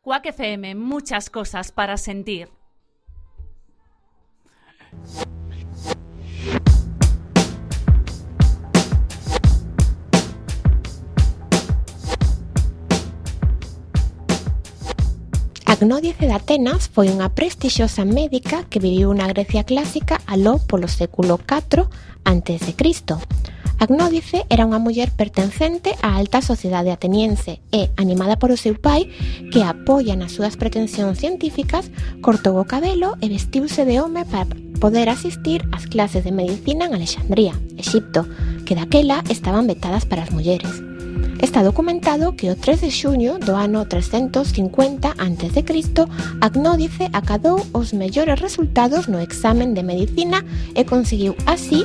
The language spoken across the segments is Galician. Cuac FM, muchas cosas para sentir. Agnódia de Atenas foi unha prestixiosa médica que viviu na Grecia clásica aló polo século IV antes de Cristo. Agnódice era unha muller pertencente á alta sociedade ateniense e, animada polo seu pai, que a apoia nas súas pretensións científicas, cortou o cabelo e vestiuse de home para poder asistir ás clases de medicina en Alexandría, Exipto, que daquela estaban vetadas para as mulleres. Está documentado que o 3 de xuño do ano 350 a.C. Agnódice acadou os mellores resultados no examen de medicina e conseguiu así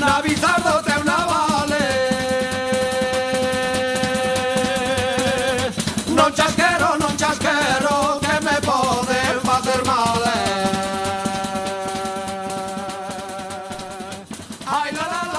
Na bizardo treu na vale Non chasquero, non chasquero Que me poden facer mal eh. Ai, la, la, la.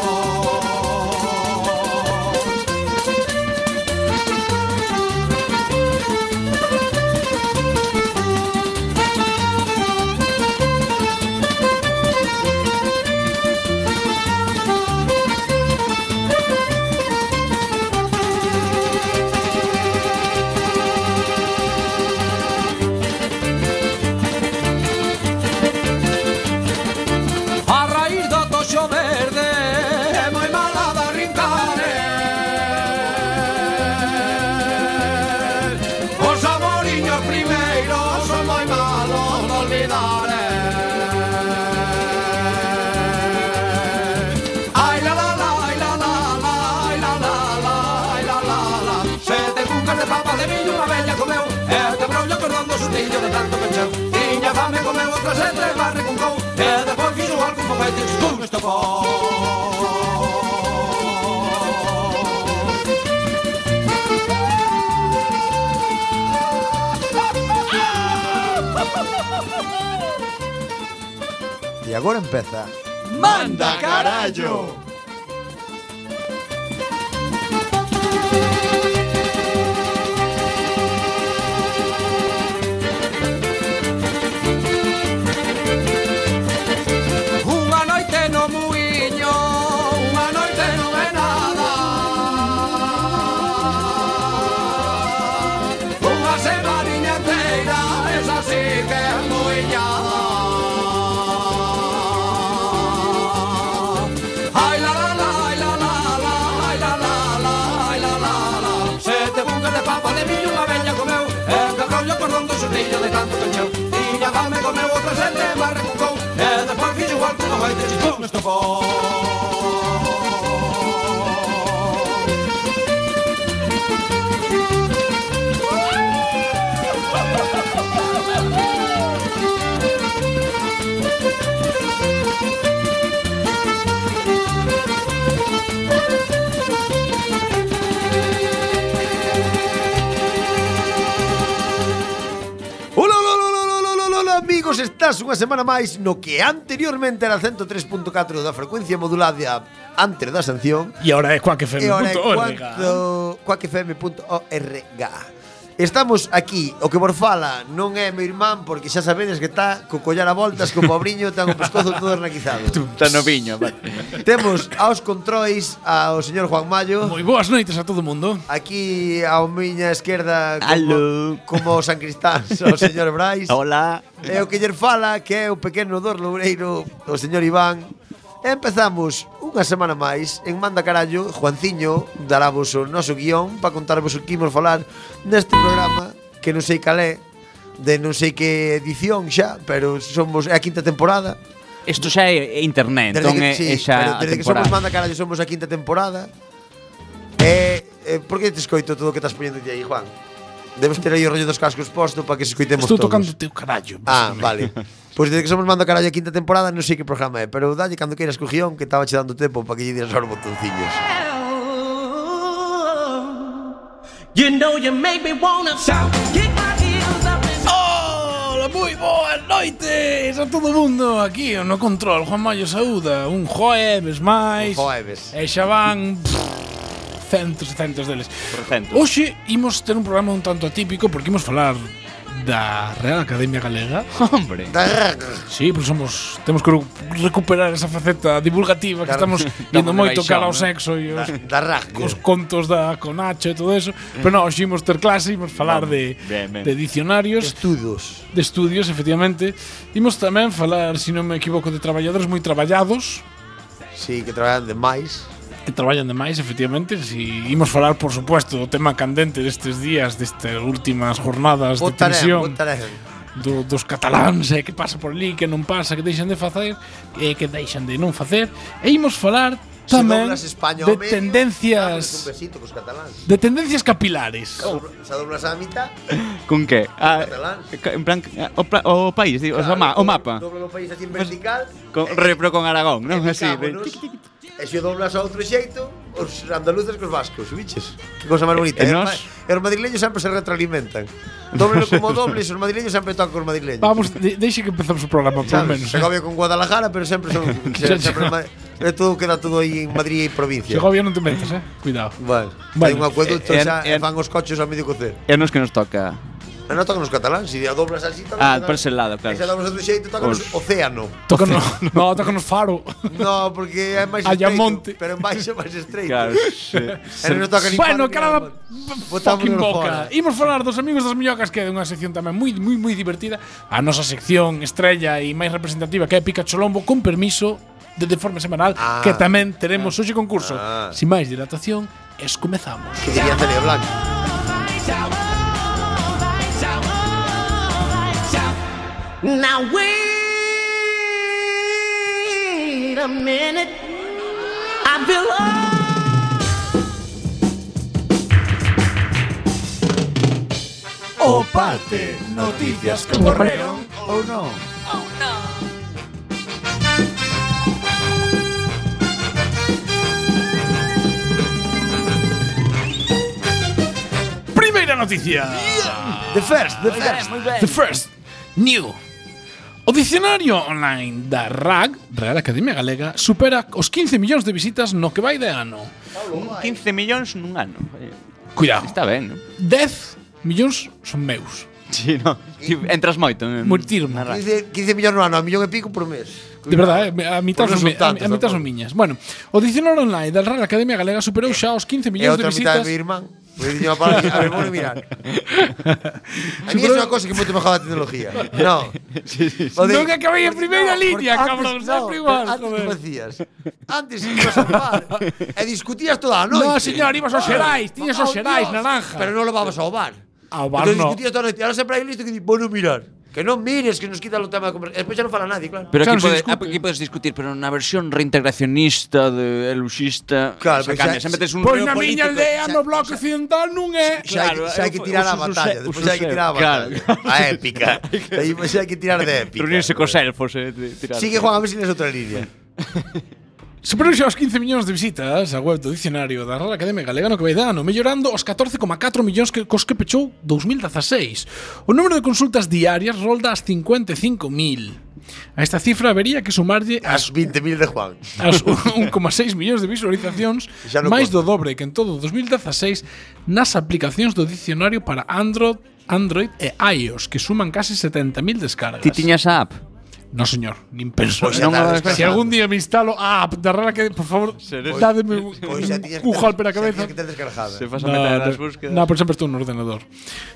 A raíz do toxo verde É moi mala da rincare Os amoriños primeiros Son moi malos de olvidar eh. Ai la la la, ai la la la Ai la la la, ai la la la Sete cucas de papa de millo Unha bella comeu E te brollo cordón do sustillo de tanto pecheu Tiña fame comeu outra sete Mas recuncou E depois fixo algún foguete Pum, estopou E agora empeza Manda carallo. Unha noite no muiño, unha noite non é nada. Unha semaniña inteira, esa sí que é muiñada. Ai la la la, ai la la la, ai la la la, ai la la la. Sete bucas de papa de millo unha bella comeu, e que rollo cordón do xurrillo de tanto cancheu. Tiña fame comeu outra sete, mas recucou, e despois fixo igual Eh, que unha baita chitón estopou. Ola, ola, ola, ola, ola, ola, ola, ola, amigos, estás unha semana máis no que anteriormente era 103.4 da frecuencia modulada antes da sanción Y ahora es e ahora é cuacfm.org. cuanto- cuacfm.org. Estamos aquí, o que por fala non é meu irmán porque xa sabedes que está co collar a voltas, co pobriño, ten o pescozo todo raquizado. Está no viño, vale. Temos aos controis ao señor Juan Mayo. Moi boas noites a todo mundo. Aquí ao miña esquerda Aló. como, como o San Cristán, o señor Brais. Hola. E o que ller fala que é o pequeno Dor Loureiro, o señor Iván. E empezamos unha semana máis en Manda Carallo, Juanciño dará vos o noso guión para contarvos o que imos falar neste programa que non sei cal é, de non sei que edición xa, pero somos é a quinta temporada. Isto xa é é internet, Desde entón que, é, sí, é xa a pero desde que somos temporada. manda carallo somos a quinta temporada. E eh, por que te escoito todo o que estás poñendo ti aí, Juan? Debes ter aí o rollo dos cascos posto para que se escoitemos Estou todos. tocando o teu carallo. Ah, vale. Pois desde que somos mando carallo a quinta temporada Non sei que programa é Pero dalle cando queiras co guión Que estaba che dando tempo Para que lle dieras aos botonciños You know you make me wanna shout. Kick my heels up and Ola, moi boas noites a todo mundo Aquí o No Control, Juan Mayo saúda Un jueves máis Joeves E xa van pff, centos e centos deles Porcento. Hoxe imos ter un programa un tanto atípico Porque imos falar da Real Academia Galega Hombre. Sí, pois somos temos que recuperar esa faceta divulgativa que Claro. estamos indo de moito baixón, cara ao ¿no? eh. sexo e os, Da rasgo os contos da Conacho e todo eso, pero non, hoxe imos ter clase, imos falar de, Bien, bien. de diccionarios, Estudos de estudios, efectivamente. Imos tamén falar, se non me equivoco, de traballadores moi traballados, Si, sí, que traballan demais que traballan demais, efectivamente. Si imos falar, por supuesto, do tema candente destes días, destas últimas jornadas de tensión botarán do, dos cataláns, eh, que pasa por ali, que non pasa, que deixan de facer, eh, que deixan de non facer. E imos falar Se tamén doblas España de ao medio, dámosles Un tendencias besito cos cataláns de tendencias capilares. Se doblas a mitad Con que? Ah, Catalán. ca- en plan, ah, o, pla- o país, digo, o, sea, ma- o mapa. Doblas o país así en vertical Con, e- re, pero con Aragón, non? e Así, de- picámonos. E se o doblas a outro xeito Os andaluces cos vascos, biches Que cosa máis bonita E E, os nós? ma- e os madrileños sempre se retroalimentan Doblelo como dobles Os madrileños sempre tocan cos madrileños Vamos, de, deixe que empezamos o programa, polo Sabes, menos. eh. Segovia con Guadalajara, pero sempre son Xa, xa. sempre ma- eh, todo queda todo aí en Madrid e provincia. Segovia non te metas, eh? Cuidado. Vale. Bueno, Hai un acueducto eh, xa eh, e fan os coches ao medio cocer. E a nos que nos toca. Pero non tocan os cataláns, se a doblas así tocan. Ah, os cataláns. por ese lado, claro. E se a doblas outro xeito tocan os Os- océano. Toca no, no, toca nos faro. No, porque é máis Allá estreito, monte. pero en baixo é máis estreito. Claro, E non toca nin bueno, padre, cara da nin p- Botámonos fucking fora. boca. Imos falar dos amigos das miñocas que é unha sección tamén moi moi moi divertida. A nosa sección estrella e máis representativa que é Pica Cholombo con permiso de de forma semanal Ah. que tamén teremos hoxe concurso. Ah. Sin máis dilatación, es comezamos. Que diría Celia Blanco. Now wait a minute. I feel old. O parte, noticias que ocorreron ou non. Primeira noticia. The first, the first. The first new. O diccionario online da RAG, Real Academia Galega, supera os 15 millóns de visitas no que vai de ano. 15 millóns nun ano. Eh, Cuidado, Está ben, non? 10 millóns son meus. Sí, no. Ti entras moito. en- Multirmo. na radio. 15, 15 millóns no ano, a millón e pico por mes. De verdade, eh, a mitad Pois non son, mi- son tantos, a, a mitad son tampouco. miñas. Bueno, o diccionario online da Real Academia Galega superou xa os 15 E a millóns de outra visitas. mitad de mi irmán. Pois diño, para, a ver, vou mirar. A mí é unha cosa que moito mejor a tecnología. No. Joder. Non acabei en primeira No, liña, porque cabrón, antes sempre no, igual, Antes que joder. facías? Antes ibas a bar e discutías toda a noite. No, señor, ibas aos xerais, tiñas aos Oh, xerais, Dios. naranja. Pero non levabas ao bar. Ao bar Entón no. discutías toda a noite. Ahora sempre hai listo que di, bueno, mirar. Que non mires, que nos quita o tema de conversación. Despois xa non fala nadie, claro. Pero Xa non aquí, se pode, discute. aquí podes discutir, pero na versión reintegracionista de eluxista, Claro, xa pues pero cambia, xa- sempre tes un Pois reo na Pues miña político. aldea no bloque occidental non é. Xa hai, que- xa hai que eu- tirar a uso- uso- batalla, uso- despois xa hai que tirar a claro. batalla. A épica. Aí pois xa hai que tirar de épica. Reunirse cos elfos e eh, tirar. Sigue, Juan, a ver se les outra línea. Superou xa os 15 millóns de visitas a web do diccionario da Real Academia Galega no que vai de ano, mellorando os 14,4 millóns que, cos que pechou 2016. O número de consultas diarias rolda as 55.000. A esta cifra habería que sumarlle as As 20.000 de Juan. as 1,6 millóns de visualizacións, Xa non máis conta. do dobre que en todo o 2016 nas aplicacións do diccionario para Android, Android e iOS, que suman casi 70.000 descargas. Ti tiñas a app? No, señor, nin penso. Pois xa Non a tardes, ver, eh. Si algún día me instalo a app da rara que, por favor, dádeme un, Pois xa tiñas un jal pela xa cabeza. tiñas que ter descargada. Se faz a metade das pero- búsquedas. No, pero sempre estou no ordenador.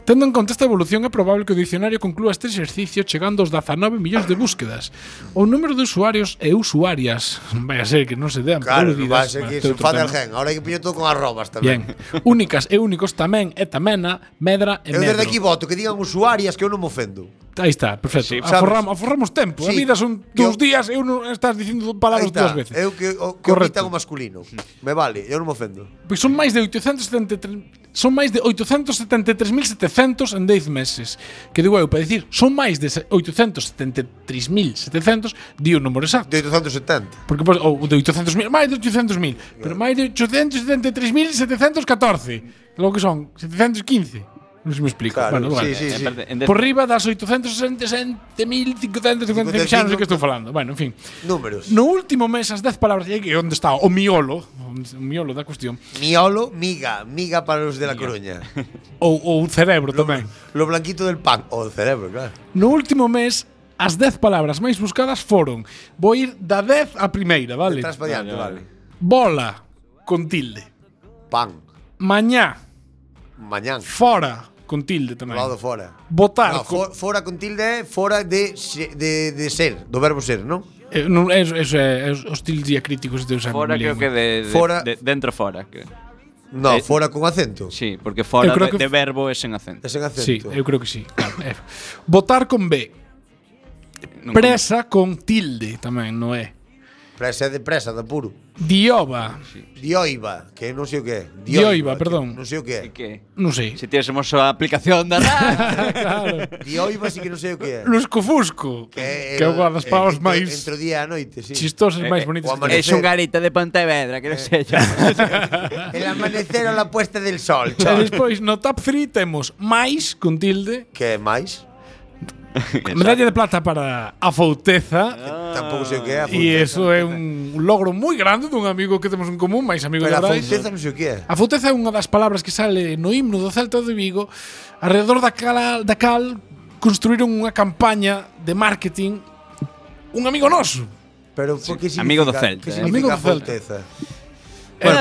Tendo en conta esta evolución, é probable que o dicionario conclúa este exercicio chegando aos 19 millóns de búsquedas. O número de usuarios e usuarias, vai a ser que non se dean Claro, por non aludidas, vai ser bueno, que este se outro enfade tema. alguén. Ahora hai que poñer todo con arrobas Bien. tamén. Únicas e únicos tamén e tamena, medra e Eu medro. desde aquí voto que digan usuarias que eu non me ofendo. Aí está, perfecto. Sí, sabes. aforramos, aforramos tempo. Sí. A vida son Que dous o- días e uno estás dicindo Aí palabras dúas está. veces. Eu que o que Correcto. omita o masculino. Me vale, eu non me ofendo. Pois son máis de 873 son máis de 873.700 en 10 meses. Que digo eu, para dicir, son máis de se- 873.700 di o número exacto. De 870. Porque pois, ou de 800.000, máis de 800.000, pero máis de e 873.714. Logo que son 715. Non se me explico. Claro, bueno, sí, vale. sí, sí. Por riba das 867.555 xa non sei que estou falando. Bueno, en fin. Números. No último mes, as 10 palabras, e aí que onde está o miolo, o miolo da cuestión, Miolo, miga, miga para os de la Coruña. ou, ou o cerebro Lo, tamén. lo blanquito del pan o del cerebro, claro. No último mes, as 10 palabras máis buscadas foron Vou ir da 10 á primeira, vale? Tras pa diante, vale. Bola, con tilde Pan, Mañá, mañán, fora, con tilde tamén lado fora. Botar, No, con- fo- fora con tilde é fora de, se- de, de ser, do verbo ser, non? eh, non, é, é, é, é os os tildes diacríticos de usar Fora en creo que lingua. de, de- Fora- de- dentro fora. creo. No, Eh, fora con acento. Sí, porque fora Eu creo de, que- de verbo es en acento. É sen Sí, acento. eu creo que sí claro, é. Botar con B Non- Presa con tilde tamén, non é Presa é de presa, da puro. Dioba, Dioiva, que non sei o que é. Dioiva, que perdón. Non sei o que é. Que non sei si tiésemos a aplicación da radio. Dioiva sí que non sei o que é. Luscofusco é Que é unha das eh, palabras entre- máis Entre o día e a noite, sí. chistosas Eh, máis eh, bonitas o que teño. amanecer. es un garita de Pontevedra, Eh. que non sei yo. El amanecer a la puesta del sol, E chao. despois no top 3 temos máis con tilde, que é máis? medalla de plata para a fouteza. Tampouco sei o que é. a E fouteza. eso é un logro moi grande dun amigo que temos en común, máis amigo Pero de a Brais. fouteza non sei o que é. A fouteza é unha das palabras que sale no himno do Celta de Vigo, alrededor da cal, da cal construíron unha campaña de marketing un amigo noso. Pero por que significa? Amigo do Celta, Que eh. Amigo do significa a Celta. fouteza? Bueno, Eh, pues,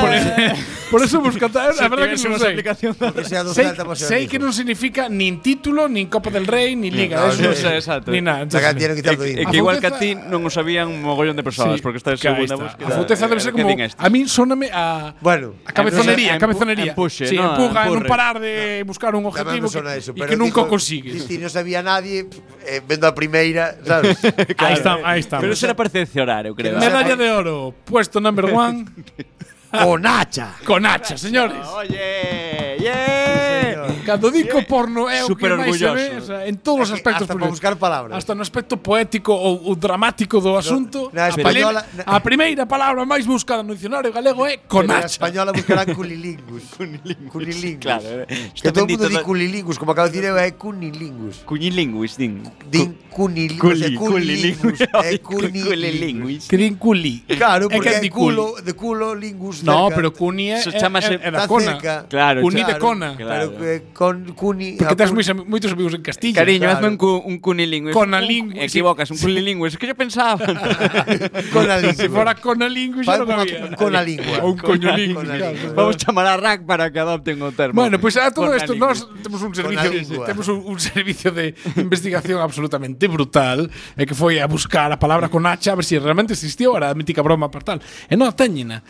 por, por eso buscata, a verdade que non sei. Porque sea do Sei, Celta pasa sei que non significa nin título, nin Copa del Rei, nin Liga. no, eso no, non sei. exacto. Nin nada. Xa entonces- que tiñeron que quitar do É himno. que igual que Fouteza- a ti non o sabían un mogollón de persoas, Sí, porque está que en aí segunda está. búsqueda. A fouteza debe ser Que como din este. a min sóname a Bueno, a cabezonería, a cabezonería. Empuje, sí, no, empuja, non empurre. parar de buscar un Tamén objetivo me que, sona eso, y pero que nunca o dijo, consigues. Si non sabía nadie, eh, vendo a primeira, sabes? Aí está, aí está. Pero eso era para decepcionar, eu creo. Que non- Medalla de oro, puesto number one o Nacha. con hacha, señores. Oye, yeah. Cando dico porno é o que Super máis se ve, orgulloso. o sea, en todos os É que aspectos. hasta pa porque- buscar palabras. Hasta no aspecto poético ou, ou dramático do asunto. na a, española- pale- na- a primeira palabra máis buscada no dicionario galego é Pero a conacha. española buscarán culilingus. culilingus. Sí, claro, eh. Que Está todo o bendito mundo di da- culilingus, como acabo de dicir eu, é cunilingus. Cuñilinguis, din. Din cunilingus, é Culi- cunilingus, é cunilingus. Culilinguis. Crin culi. Claro, É que porque é é di de culi. culo, de culo, lingus. No, cerca. pero cuni é, Eso é, é, chámase- é da Está cona. cerca. Claro, Cuni de claro. cona. Claro. Pero que con cuni... Porque a tens cuni- moitos, ami- moitos amigos en Castilla. Cariño, Claro. hazme un, cu, un cunilingüe. Conalingüe, sí. Equivocas, un cunilingüe. Es que yo pensaba. eh, Con a lingua. Se fora cona lingüe, Fai xa non unha había. con a lingua. Ou un coño Con lingüe, a claro. lingua. Vamos a chamar a RAC para que adopten o termo. Bueno, pois pues, a todo isto Conalingüe. nós temos un servicio, lingua. temos un, un servicio de investigación absolutamente brutal, e que foi a buscar a palabra con hacha a ver se si realmente existiu, era a mítica broma para tal. E non a teñena.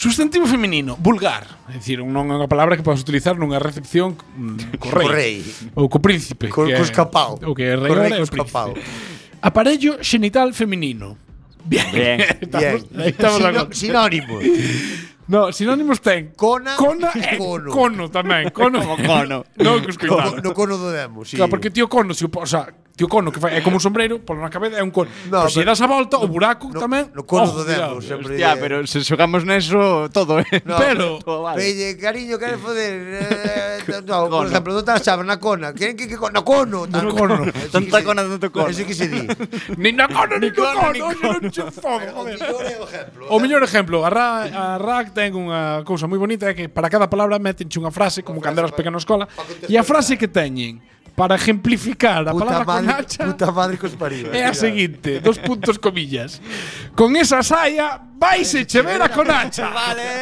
Substantivo feminino, vulgar, é dicir, non é unha palabra que podes utilizar nunha recepción mm, co Co rei. rei. Ou co príncipe, Co- que co é- escapao. O que é rei Co rei agora é o co príncipe. escapao. Aparello xenital feminino. Bien. Bien. estamos, Bien. aí estamos agora. Sino- Sinónimo. No, sinónimos ten Cona, cona e cono. cono, tamén, cono. Como cono. Non que os coitado. No cono do demo, sí. Claro, porque tío cono, si, o po- o sea, tío cono que fai, é como un sombreiro, polo na cabeza é un cono. No, No, pero se pero- das a volta, o buraco no, tamén. oh, no cono do cuidado. demo, sempre. Hostia, pero se xogamos neso todo, eh. No, Pero- Todo vale. Oye, cariño, quero foder. eh, no, por Cono. exemplo, non estás chave na cona. Queren que, que co- no cono, tan No cono. Tanta cona, tanto cono. Eso que se di. Ni na cono, ni Ni co cono, cono, ni oye, non che fodo, joder. o exemplo. O mellor exemplo, a, Ra, a RAC ten unha cousa moi bonita é que para cada palabra metenche unha frase como cando eras pequeno na escola e a frase que teñen para ejemplificar a palabra Puta madre, conacha puta madre que os pariu. é Eh, a seguinte, dos puntos comillas. Con esa saia vais Echevera conacha.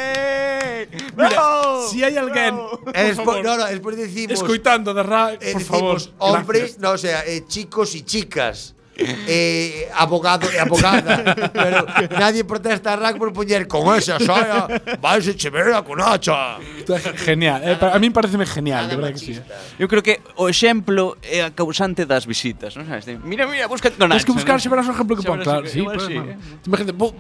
Vale. Mira, si hai alguén Es por por- favor, no, no, Eh, después decimos. escoitando de ra, eh, por favor, decimos hombres, no, o sea, eh, chicos y chicas. Eh, abogado y abogada. pero nadie protesta a Rack por poner con esa saya. Vais Echeverría con hacha. gracias. genial, eh, pa- a min pareceme genial, de verdade que si. Eu creo que o exemplo é a causante das visitas, non sabes? De, Mira, mira, busca con Tens que buscar Nacho, non? xeveras o exemplo que pon, Xeveras, claro, sí, igual pues, sí, mano. eh. Te Imagínate, vou,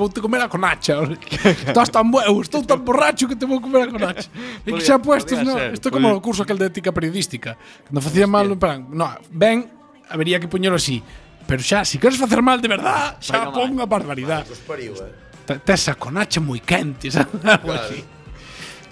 vou te comer a conacha. Estás tan bo, eu estou tan borracho que te vou comer a conacha. E que xa Podía- puestos, podía no, ser, isto é podía- como o curso aquel de ética periodística. Cando facía mal, en plan, no, ben, habería que poñelo así. Pero xa, se si queres facer mal de verdad, xa Vai no pon a barbaridade. Os pariu, eh. Te- Tes a conacha moi quente, sabe? Pues Algo así.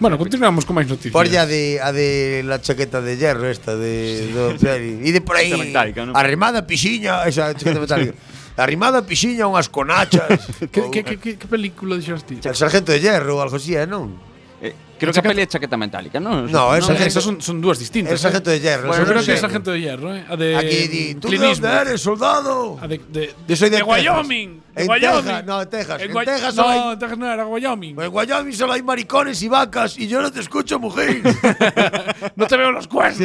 Bueno, continuamos con máis noticias. Por ya de, a de la chaqueta de hierro esta de, do peli. E de por aí Chaqueta metálica, ¿no? arrimada pixiña, esa chaqueta metálica. arrimada pixiña unhas conachas. Que, Ou- que, que, que, que película dixeras ti? El sargento de hierro ou algo así, eh, non? Eh, creo que a peli é chaqueta metálica, non? No, el sargento, Esas son, son dúas distintas. el sargento de hierro. Bueno, el yo creo que es sargento de sargento de hierro, ¿eh? A de. hierro. Aquí di, tú de Clint onde Eastwood. eres, soldado? A de, de, Yo soy de Texas. Wyoming. De En Wyoming. Texas, no, en Texas. En Gua- Texas no, solo hay- en Texas no era Wyoming. En Wyoming solo hay maricones y vacas y yo no te escucho, mujer. no te veo los cuernos.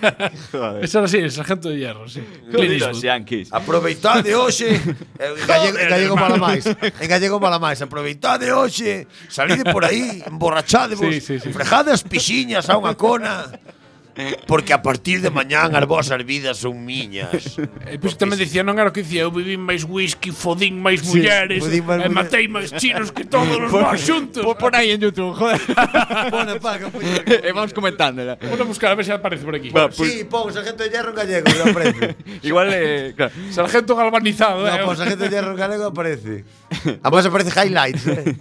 ¿no? Joder. Eso Pues era sí, el sargento de hierro, sí. Clint Dilo, Eastwood. Yankees. Aproveitad de hoxe En gallego, en gallego mala máis En gallego mala máis Aproveitad de hoxe Salide por aí Emborrachadevos Sí, sí, sí. Frejade as pixiñas a unha cona Porque a partir de mañán As vosas vidas son miñas E pois tamén dicía, non era o que dicía, eu vivín máis whisky, fodín máis Sí, mulleres, fodín máis e mulleres. matei máis chinos que todos os más xuntos. Pon pon aí en YouTube, joder. Bona paga e Eh, vamos comentándola. Vou a buscar, a ver se aparece por aquí. Va, pues, Si, sí, pon sargento de hierro en gallego e aparece Igual, eh, claro. Sargento galvanizado, No, eh. pon sargento de hierro en gallego e aparece Además aparece highlights eh.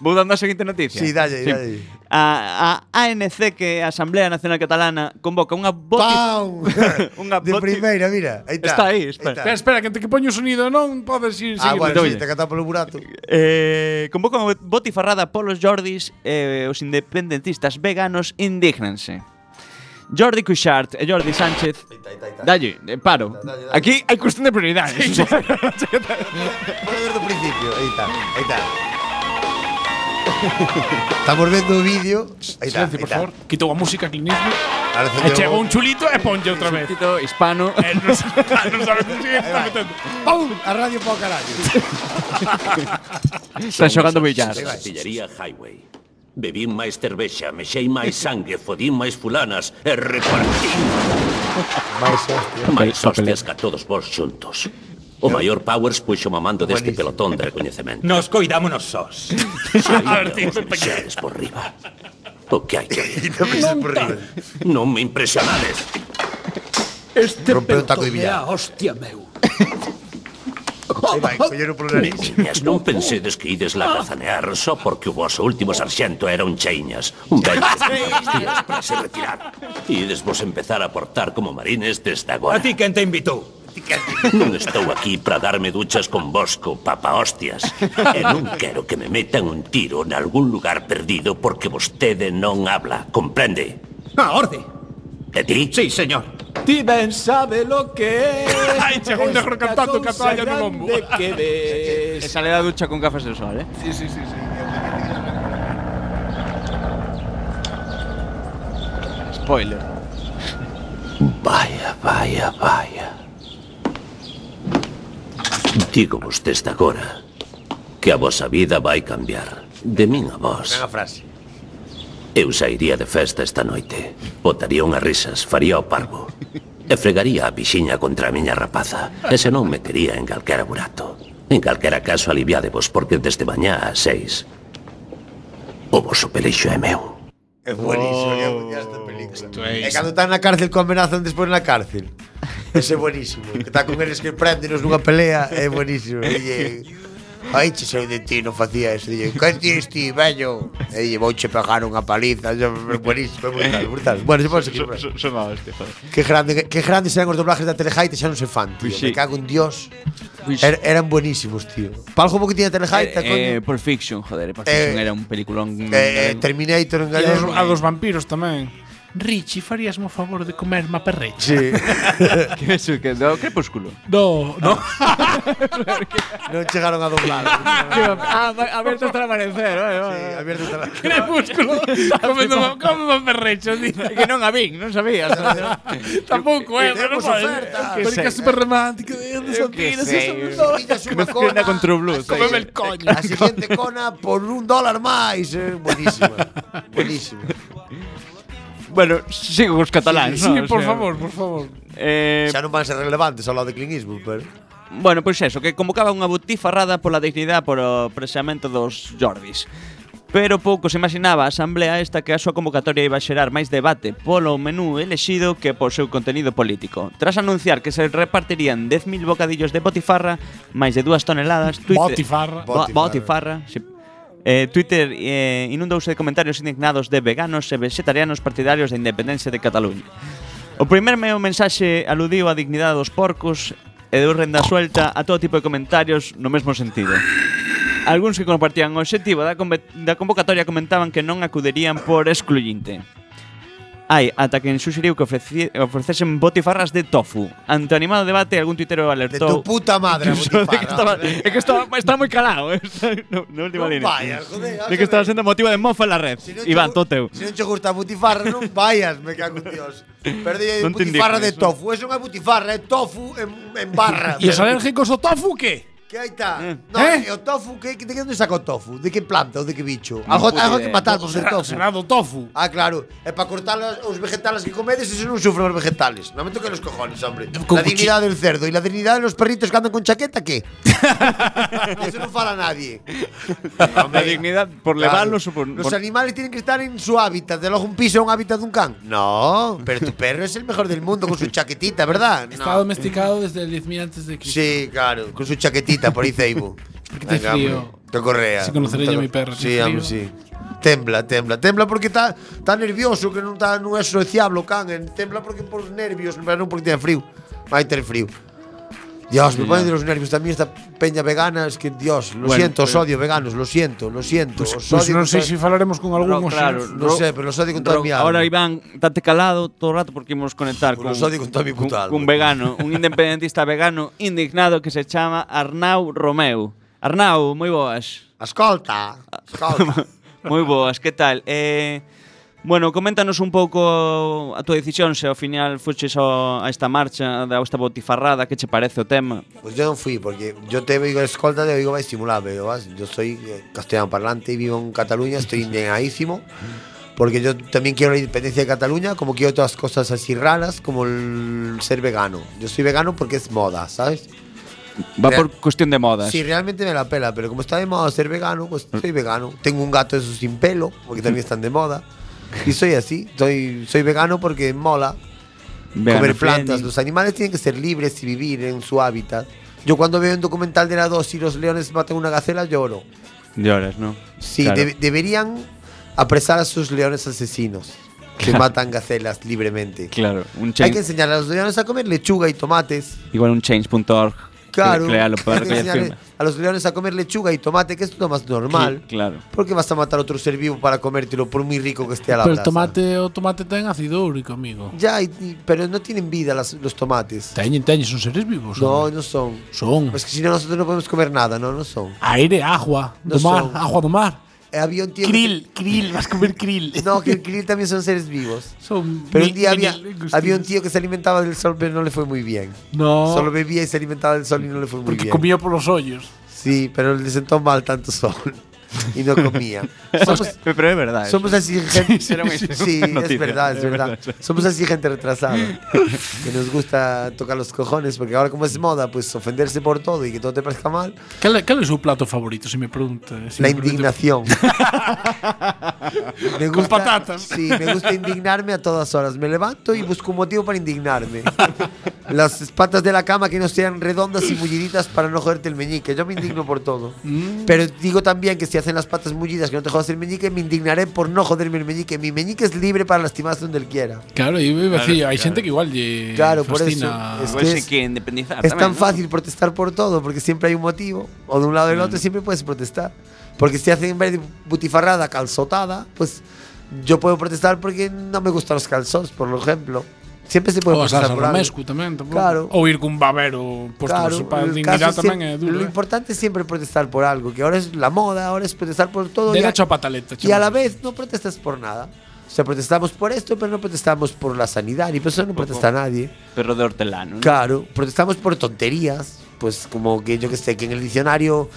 Vou dando a seguinte noticia. Si, sí, dalle, dalle A, a ANC, que é a Asamblea Nacional Catalana, convoca unha boti... Pau Unha De boti- primeira, mira Aí está Está aí, espera. Espera, espera, que te que poño o sonido, non podes ir Ah, seguindo. bueno, Doble. si, te catá polo burato Eh, convoca unha botifarrada polos Jordis e os independentistas veganos indígnanse. Jordi Cuixart e Jordi Sánchez Dalle, eh, paro. Dalle, dalle. Aquí hai cuestión de prioridades. Vou ver do principio, aí está, aí está. Estamos vendo o vídeo. Aí Silencio, está, aí por está. favor. Quitou a música, Clint Eastwood. Ahora E encendeu chegou o- un chulito e ponlle outra vez. Tito hispano. Eh, non sabe- non sabe que se está metendo. ¡Pum! A radio para o carallo. Está xogando billar. Aí vai. Pastillería Highway. Bebín máis cervexa, mexei máis sangue, fodín máis fulanas e repartín Mais hostia. máis hostias ca todos vos xuntos. O maior Powers puxo mamando deste pelotón de recoñecemento. Nos coidámonos sós. Saída os mexeres por riba. O que hai que ver? Non me impresionades. Este Rompeu un taco pelotón de billar. é a hostia meu. Aí vai, colleron polo nariz. Mentiñas, non pensedes que ides Ah. lá cazanear só porque o vosso último sarxento era un cheiñas. Un vello que tiras para se retirar. Ides vos empezar a portar como marines desde A agora. ti quen te invitou? Non estou aquí para darme duchas con Bosco, papa hostias. E non quero que me metan un tiro en algún lugar perdido porque vostede non habla, comprende? A orde. E ti? Sí, señor. Ti ben sabe lo que é. Ai, chegou un negro cantando Cataluña no lombo. Que E ves. sale da ducha con gafas de sol, eh? Spoiler. Vaya, vaya, vaya. Digo vos desde agora que a vosa vida vai cambiar. De min a vos. Gran frase. Eu sairía de festa esta noite. Botaría unhas risas, faría o parvo. E fregaría a pixiña contra a miña rapaza. E se non me quería en calquera burato. En calquera caso, aliviadevos, porque desde mañá a seis... O vosso peleixo é meu. É buenísimo, é buenísimo esta película. é É cando están na cárcel que amenazan despois na cárcel. Ese é buenísimo. Que está con eles que préndenos nunha pelea, é buenísimo. E lle- Ai, che saiu de ti, non facía eso. Dille, que dis ti, vello? E dille, vouche pegar unha paliza. É buenísimo, é brutal, brutal. Bueno, se pode seguir. bueno. Son a hostia, joder. Que grande, que, que grandes eran os doblajes da Telejaita, xa non se fan, tío. Pois sí. Me cago en Dios. Pois- Er, eran buenísimos, tío. Palgo bo que tiña Telejaita, eh, eh, eh, coño. Pulp Fiction, joder, Pulp Fiction Eh, era un peliculón Eh, eh, Terminator en E a dos, galego. a dos vampiros tamén. Richie, faríasme o favor de comer má perrecha? Sí. que eso, que do crepúsculo. No, no. non chegaron a doblar. ah, va- abierto hasta el amanecer, vale, vale. Sí, abierto hasta el Crepúsculo. comendo má- come má perrecha. Que non a vin, non sabías. Tampouco, eh, pero non Temos pode. oferta. Pero é que é super romántico. Mezclina con True Blues. Comeme el coño. A siguiente cona por un dólar máis. Eh, buenísima. buenísima. Bueno, sigo cos cataláns, Sí, non? sí, por O sea, favor, por favor. Eh, Xa non van ser relevantes ao lado de Clint Eastwood, pero... Bueno, pois eso, que convocaba unha butifarrada pola dignidade por o presamento dos Jordis. Pero pouco se imaginaba a asamblea esta que a súa convocatoria iba a xerar máis debate polo menú elexido que por seu contenido político. Tras anunciar que se repartirían 10.000 bocadillos de botifarra, máis de 2 toneladas, Twitter... Botifarra. Bo- botifarra, sí. Eh, Twitter eh, inundouse de comentarios indignados de veganos e vegetarianos partidarios da independencia de Cataluña. O primer meu mensaxe aludiu á dignidade dos porcos e deu renda suelta a todo tipo de comentarios no mesmo sentido. Alguns que compartían o objetivo da, conve- da convocatoria comentaban que non acudirían por excluyente. Ai, ata quen suxeriu que ofreci- ofrecesen botifarras de tofu. Ante o animado debate, algún tuitero alertou... tu puta madre, a Incluso de que estaba, é botifarra. que estaba, está moi calado, eh, está no, no última Non línea. vayas, joder, de que estaba sendo motivo de mofa en la red. non te Iván, gu- todo teu. Se non che gusta a butifarra, non vayas, me cago en Dios. Perdí Non te butifarra de indignes, tofu. Eso non é butifarra, é tofu en, en barra. E os alérgicos ao tofu que? Que aí está. No, Eh? e o tofu, que, de que onde saca o tofu? De que planta ou de que bicho? Non Algo, puta algo que idea. matar por ser Será- tofu. será do tofu. Ah, claro. É para cortar as- os vegetales que comedes e se non sufren os vegetales. Non me toquen os cojones, hombre. Con la dignidad del cerdo e la dignidad de los perritos que andan con chaqueta, que? Eso non fala nadie. La dignidad por levarlos o por, Los por- animales tienen que estar en su hábitat. De luego un piso a un hábitat de un can. No, pero tu perro es el mejor del mundo con su chaquetita, ¿verdad? No. Está domesticado desde el 10.000 antes de Cristo. Sí, claro, con su chaquetita por ahí Facebook. Porque te frío. Te correa. Así conoceré yo Te- a mi perro, te Sí, frío. hombre, sí. Tembla, tembla, tembla porque está está nervioso que non está non é sociable o can, eh, tembla porque por os nervios, pero non porque ten frío. Vai ter frío. Dios, me ponen de los nervios también esta peña vegana, es que Dios, lo Bueno, siento, os pero- odio veganos, lo siento, lo siento, Pues, os pues odio non con eh, sei se toda- falaremos con algún o Ro- se- claro, no Ro- sé, pero los odio con toda Ro- mi alma. Ahora, Iván, estate calado todo el rato porque íbamos a conectar Pues con, los odio con toda mi puta con- alma. con un vegano, un independentista vegano indignado que se llama Arnau Romeu. Arnau, moi boas. Ascolta, ascolta. Moi boas, que tal? Eh, bueno, coméntanos un pouco a túa decisión se ao final fuches ao- a esta marcha da esta botifarrada, que che parece o tema? Pues yo no fui, porque yo te digo escolta, te digo va estimulado, pero vas, yo soy eh, castellano parlante y vivo en Cataluña, estoy indignadísimo, porque yo también quiero la independencia de Cataluña, como quiero otras cosas así raras, como el ser vegano. Yo soy vegano porque es moda, ¿sabes? Va Real- por cuestión de modas. Sí, realmente me la pela, pero como está de moda ser vegano, pues soy vegano. Tengo un gato de esos sin pelo, porque también están de moda. Y soy así, soy, soy vegano porque mola, Vegano comer plantas. friendly. Los animales tienen que ser libres y vivir en su hábitat. Yo cuando veo un documental de la 2 y los leones matan una gacela, lloro. Lloras, ¿no? Sí, Claro. de- deberían apresar a sus leones asesinos que Claro. matan gacelas libremente. Claro, un Hay que change, enseñar a los leones a comer lechuga y tomates. igual un change.org. Claro, Créalo hay para que recoller enseñarle firmas. a los leones a comer lechuga y tomate, que es lo más normal. Sí, Claro. Porque vas a matar a otro ser vivo para comértelo, por muy rico que esté a la Pero el brasa. tomate, o tomate ten ácido úrico, amigo. Ya, y- y- pero no tienen vida las- los tomates. Teñen, teñen, son seres vivos. No, hombre. no son. Mm. Son Pues que si no, nosotros no podemos comer nada, no, no son. aire, agua, No do mar, son. agua do mar. Eh, había un tío. que- Krill, krill, vas a comer krill. No, que el krill también son seres vivos. Son Pero un mi- día había, mini- había un tío que se alimentaba del sol, pero no le fue muy bien. Oh. No, Solo bebía y se alimentaba del sol y no le fue muy porque bien. comía por los hoyos. Sí, pero le sentó mal tanto sol. Y no comía. Somos, Pero es verdad. eso. somos así gente. era muy- Sí, es noticia, verdad, es es verdad. verdad. Somos así gente retrasada. Que nos gusta tocar los cojones, porque ahora como es moda, pues ofenderse por todo y que todo te parezca mal. Cal, é- cal é o seu plato favorito, se me pregunta? se la me permite? indignación. me Con patatas. Sí, me gusta indignarme a todas horas. Me levanto y busco un motivo para indignarme. Las patas de la cama que no sean redondas y mulliditas para no joderte el meñique. Yo me indigno por todo. Mm. Pero digo también que si hacen las patas mullidas que no te jodas el meñique, me indignaré por no joderme el meñique. Mi meñique es libre para lastimarse donde él quiera. Claro, e iba a decir, hai xente que igual lle Claro, por Eh, fascina. eso, es- Pois hai que Ah, pues que independizar Es tamén, tan ¿no? fácil protestar por todo, porque siempre hay un motivo, o de un Mm. lado o del otro siempre puedes protestar. Porque si hacen en vez de butifarrada, calzotada, pues yo puedo protestar porque no me gustan los calzones, por ejemplo. Siempre se puede Ou as protestar salsas por algo. romesco tamén, tampouco. Claro. Ou ir cun babero posto Claro, claro, para el dignidad caso tamén siem- é duro. Lo eh. importante es siempre protestar por algo, que ahora es la moda, ahora es protestar por todo. y a- Derecho a pataleta. Y a la chamo. vez no protestas por nada. O sea, protestamos por esto, pero no protestamos por la sanidad. Y por eso no protesta nadie. Perro de hortelano. ¿no? Claro, protestamos por tonterías. Pues como que yo que sé, que en el diccionario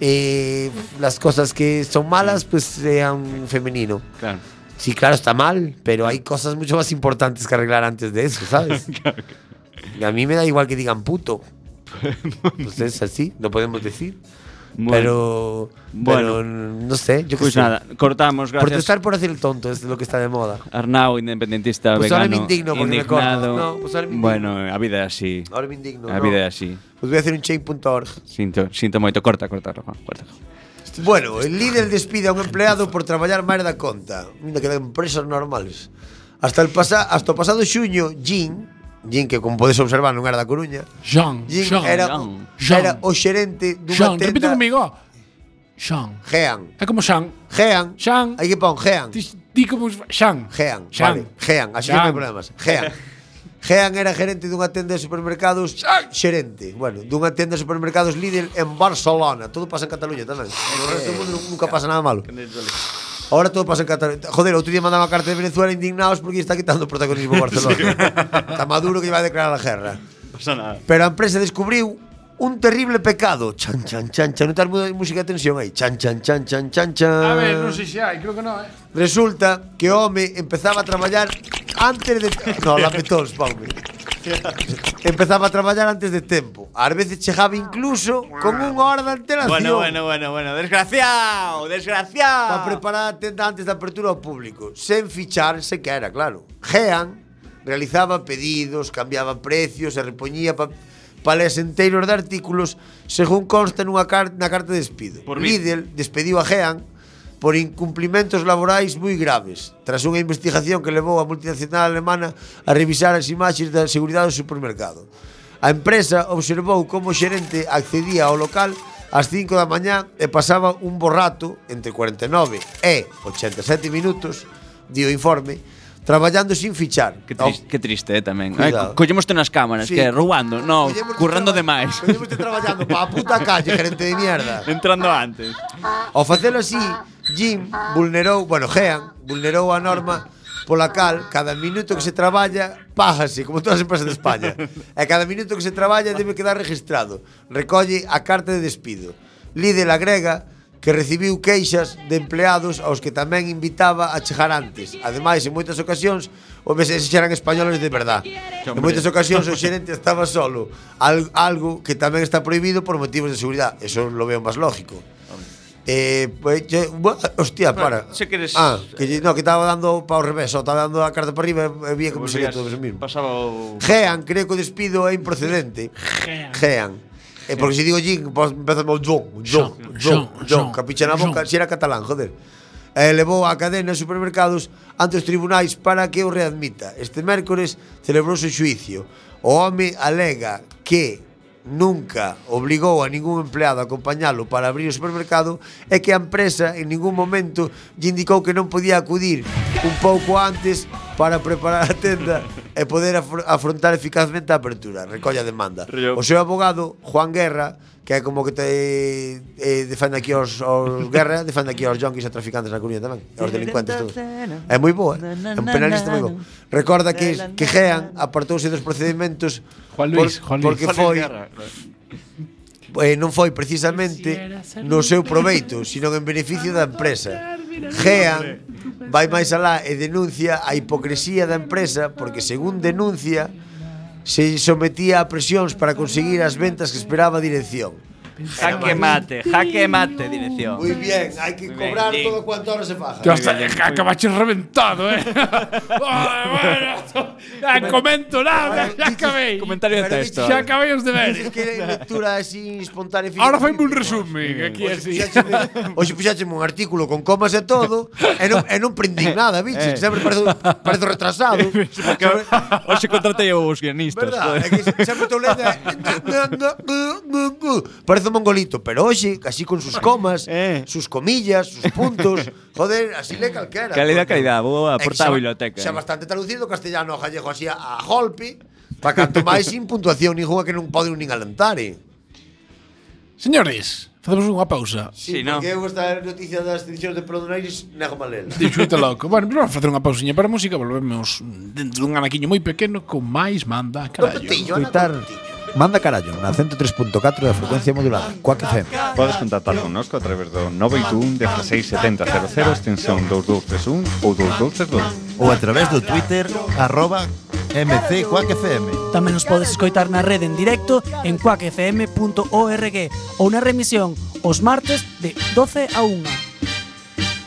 eh, las cosas que son malas, pues sean femenino. Claro. Sí, claro, está mal, pero hay cosas mucho más importantes que arreglar antes de eso, ¿sabes? Y A mí me da igual que digan puto. Pues es así, no podemos decir. Bueno. Pero, Bueno. pero no sé, yo qué Pues sé. nada, cortamos, gracias. Protestar por hacer el tonto es lo que está de moda. Arnau, independentista Pues ahora vegano. me indigno porque me indignado. cortas. No, pues ahora me indigno. Bueno, a vida é así. Ahora me indigno. A no. vida é así. Pues voy a hacer un change.org. Sinto, sinto moito. Corta, corta, Rafa. Corta. Bueno, el líder despide a un empleado por traballar máis da conta. Mira que dan empresas normales. Hasta el pasa, hasta o pasado xuño, Jin, Jin que como podes observar non era da Coruña, Jean, Jin Jean, era, Jean. era o xerente Jean, dunha repite tenda comigo. Jean. Gean. É como Jean. Gean. Jean. Hai que pon Gean. Di, di como Jean. Gean, Jean. vale. Gean, así Jean. non hai problemas. Gean. Gean era gerente dunha tenda de supermercados xerente, bueno, dunha tenda de supermercados Lidl en Barcelona. Todo pasa en Cataluña tamén. No resto do mundo nunca pasa nada malo. Ahora todo pasa en Cataluña. Joder, outro día mandaba carta de Venezuela indignados porque está quitando protagonismo a Barcelona. está Maduro que iba a declarar a guerra. Pasa nada. Pero a empresa descubriu un terrible pecado. Chan, chan, chan, chan. Non estás moi- música de tensión aí. Chan, chan, chan, chan, chan, chan. A ver, non sei se hai, creo que non, eh. Resulta que o home empezaba a traballar antes de... No, lamentons, Paume. Empezaba a traballar antes de tempo. Ás veces chegaba incluso con unha hora de antelación. Bueno, bueno, bueno, bueno. Desgraciado, desgraciado. Para preparar a tenda antes da apertura ao público. Sen fichar sequera, claro. Gean realizaba pedidos, cambiaba precios e repoñía pa palés enteiros de artículos según consta nunha car na carta de despido. Por mí. Lidl despediu a Gean por incumplimentos laborais moi graves, tras unha investigación que levou a multinacional alemana a revisar as imaxes da seguridade do supermercado. A empresa observou como o xerente accedía ao local ás 5 da mañá e pasaba un borrato entre 49 e 87 minutos, dio o informe, traballando sin fichar. Que, tris, que triste eh, tamén. Ai, Cuidado. collémoste nas cámaras, Sí. que este roubando. No, currando demais. Collemos traballando pa a puta calle, gerente de mierda. Entrando antes. Ao facelo así, Jim vulnerou, bueno, Gean, vulnerou a norma pola cal cada minuto que se traballa págase, como todas as empresas de España. E cada minuto que se traballa debe quedar registrado. Recolle a carta de despido. Lidl agrega que recibiu queixas de empleados aos que tamén invitaba a chegar antes. Ademais, en moitas ocasións, o meses xeran españoles de verdad. En moitas ocasións, o xerente estaba solo. Al- Algo que tamén está prohibido por motivos de seguridade. Eso lo veo máis lógico. Eh, pues, yo- bu- hostia, para. se queres- Ah, que yo- no, que estaba dando para o revés, o estaba dando a carta para arriba e vi como sería todo eso mismo. Pasaba o... Gean, creo que o despido é improcedente. Gean. Eh, porque se digo Jin, pues empezas con John, John, John, John, John, capiche na boca, John. si era catalán, joder. E levou a cadena de supermercados ante os tribunais para que o readmita. Este mércores celebrouse o xuicio. O home alega que nunca obligou a ningún empleado a acompañalo para abrir o supermercado e que a empresa en ningún momento lle indicou que non podía acudir un pouco antes para preparar a tenda e poder afr- afrontar eficazmente a apertura. Recolla a demanda. O seu abogado, Juan Guerra, que é como que te eh, defende aquí os, os guerra, defende aquí aos yonkis e traficantes na Coruña tamén, e aos delincuentes todos. É moi boa, eh? é un penalista moi bo. Recorda que que Gean apartouse dos procedimentos Juan Luis, Juan Luis. porque foi eh, non foi precisamente no seu proveito, sino en beneficio da empresa. Gean vai máis alá e denuncia a hipocresía da empresa porque según denuncia se sometía a presións para conseguir as ventas que esperaba a dirección. Jaque mate, jaque mate, dirección. Muy bien, hay que bien, cobrar Jim. todo cuanto ahora se faja. Que hasta acabaches reventado, eh. Vale, bueno, ya comento nada, ya acabei. Comentario de Pero texto. Ya acabei os Dices deberes. que é lectura así espontánea. e Ahora física. faime un resumen, aquí así. Puxácheme- Hoxe puxácheme un artículo con comas e todo E non, e non prendín nada, bicho que Sempre parezo, parezo retrasado Sempre- Hoxe contratei eu os guionistas. Verdad, é que sempre estou lendo e- uh, parece un mongolito, pero oye, así con sus comas, sus comillas, sus puntos. Joder, así le calquera. Calidad, calidad, vou a Eh, que portar xa- a biblioteca. Xa bastante traducido o castellano ao gallego así a, a golpe, pa canto máis sin puntuación ninguna que non poden nin alentar. Eh. Señores, facemos unha pausa. Sí, porque eu esta noticia das edicións de Prodonais nego malela. Dixoite loco. Bueno, vamos a facer unha pausinha para a música, volvemos dentro dun anaquiño moi pequeno con máis manda, carallo. Tuitar Manda carallo na 103.4 da frecuencia modulada Coac FM Podes contactar connosco a través do 981 167000 extensión 2231 ou 2232. ou a través do Twitter arroba mcquackfm. Tamén nos podes escoitar na rede en directo en quackfm.org ou na remisión os martes de 12 a 1.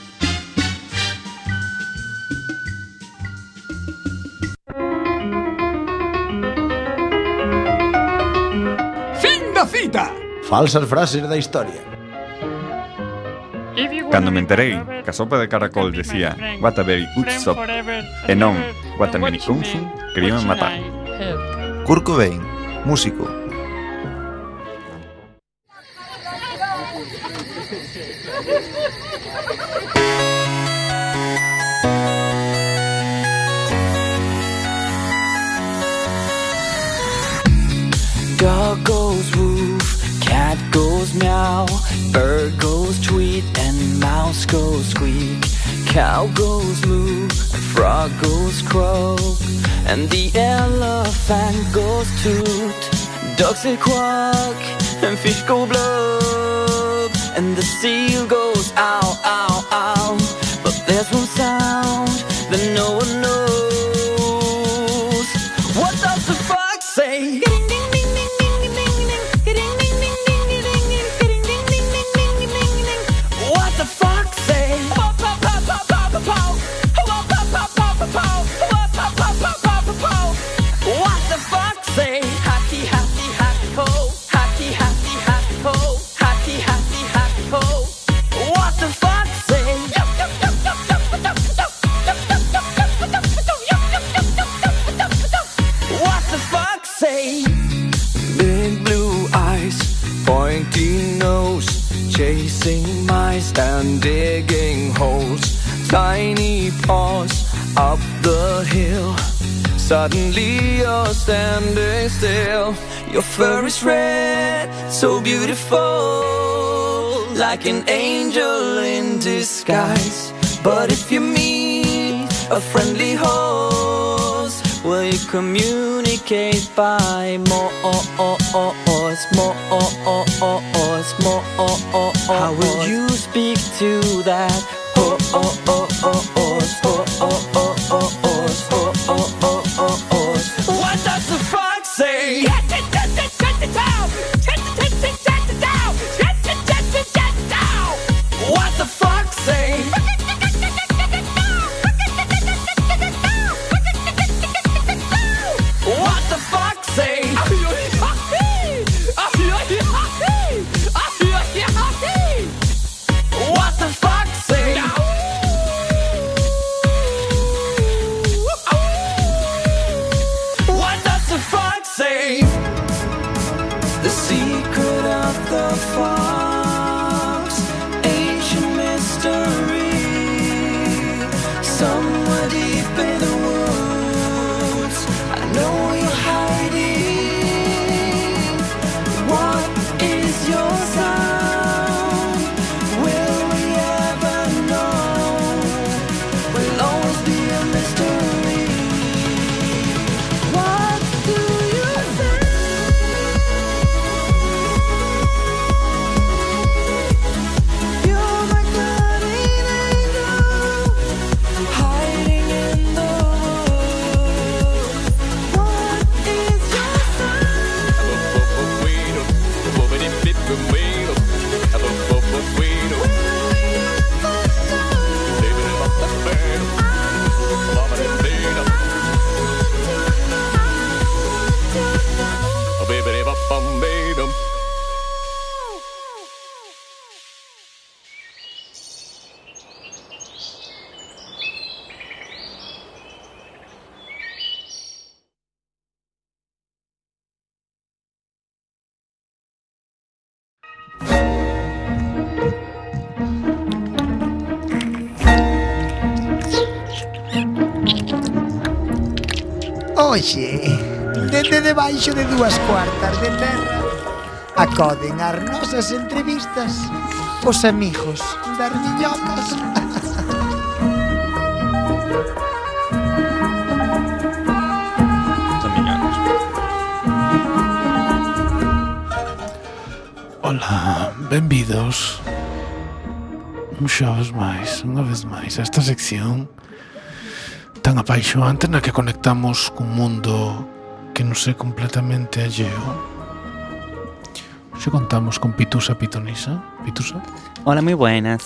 Fin da cita. Falsas frases da historia Cando me enterei que a sopa de caracol decía What a very good soup e non What a many kung fu, queríame matar. Kurt Cobain, músico. Dog goes woof, cat goes meow, bird goes tweet, and mouse goes squeak. Cow goes moo, and frog goes croak, and the elephant goes toot. Ducks say quack, and fish go blub, and the seal goes ow, ow, ow. But there's one sound that no one knows. What does the fox say? What the fox say? Pow, pow, pow, pow, pow, pow, pow. Pow, pow, pow, pow, pow, pow. Pow, pow, pow, pow, pow, pow, pow. What the fox say? Hacky, hacky, hacky, ho. Hacky, hacky, hacky, ho. Hacky, hacky, hacky, ho. What the fox say? Yup, yup, yup, yup, yup, yup, yup, yup, yup, yup, yup, yup, yup, yup, yup, yup, yup, yup, yup, yup. What the fox say? Big blue eyes, pointy nose, chasing mice and digging holes. Tiny paws up the hill. Suddenly you're standing still. Your fur is red, so beautiful, like an angel in disguise. But if you meet a friendly host, will you communicate by more Morse, Morse, Morse? How will you speak to that? Horse, horse. What does the fox say? What the fox say? What the fox say? What the fox say? What does the fox hoxe Dende debaixo de dúas cuartas de terra Acoden as nosas entrevistas Os amigos das miñocas Ola, benvidos Un xoves máis, unha vez máis a esta sección tan apaixonante na que conectamos cun mundo que nos é completamente alleo Hoxe contamos con Pitusa Pitonisa Pitusa? Hola, moi buenas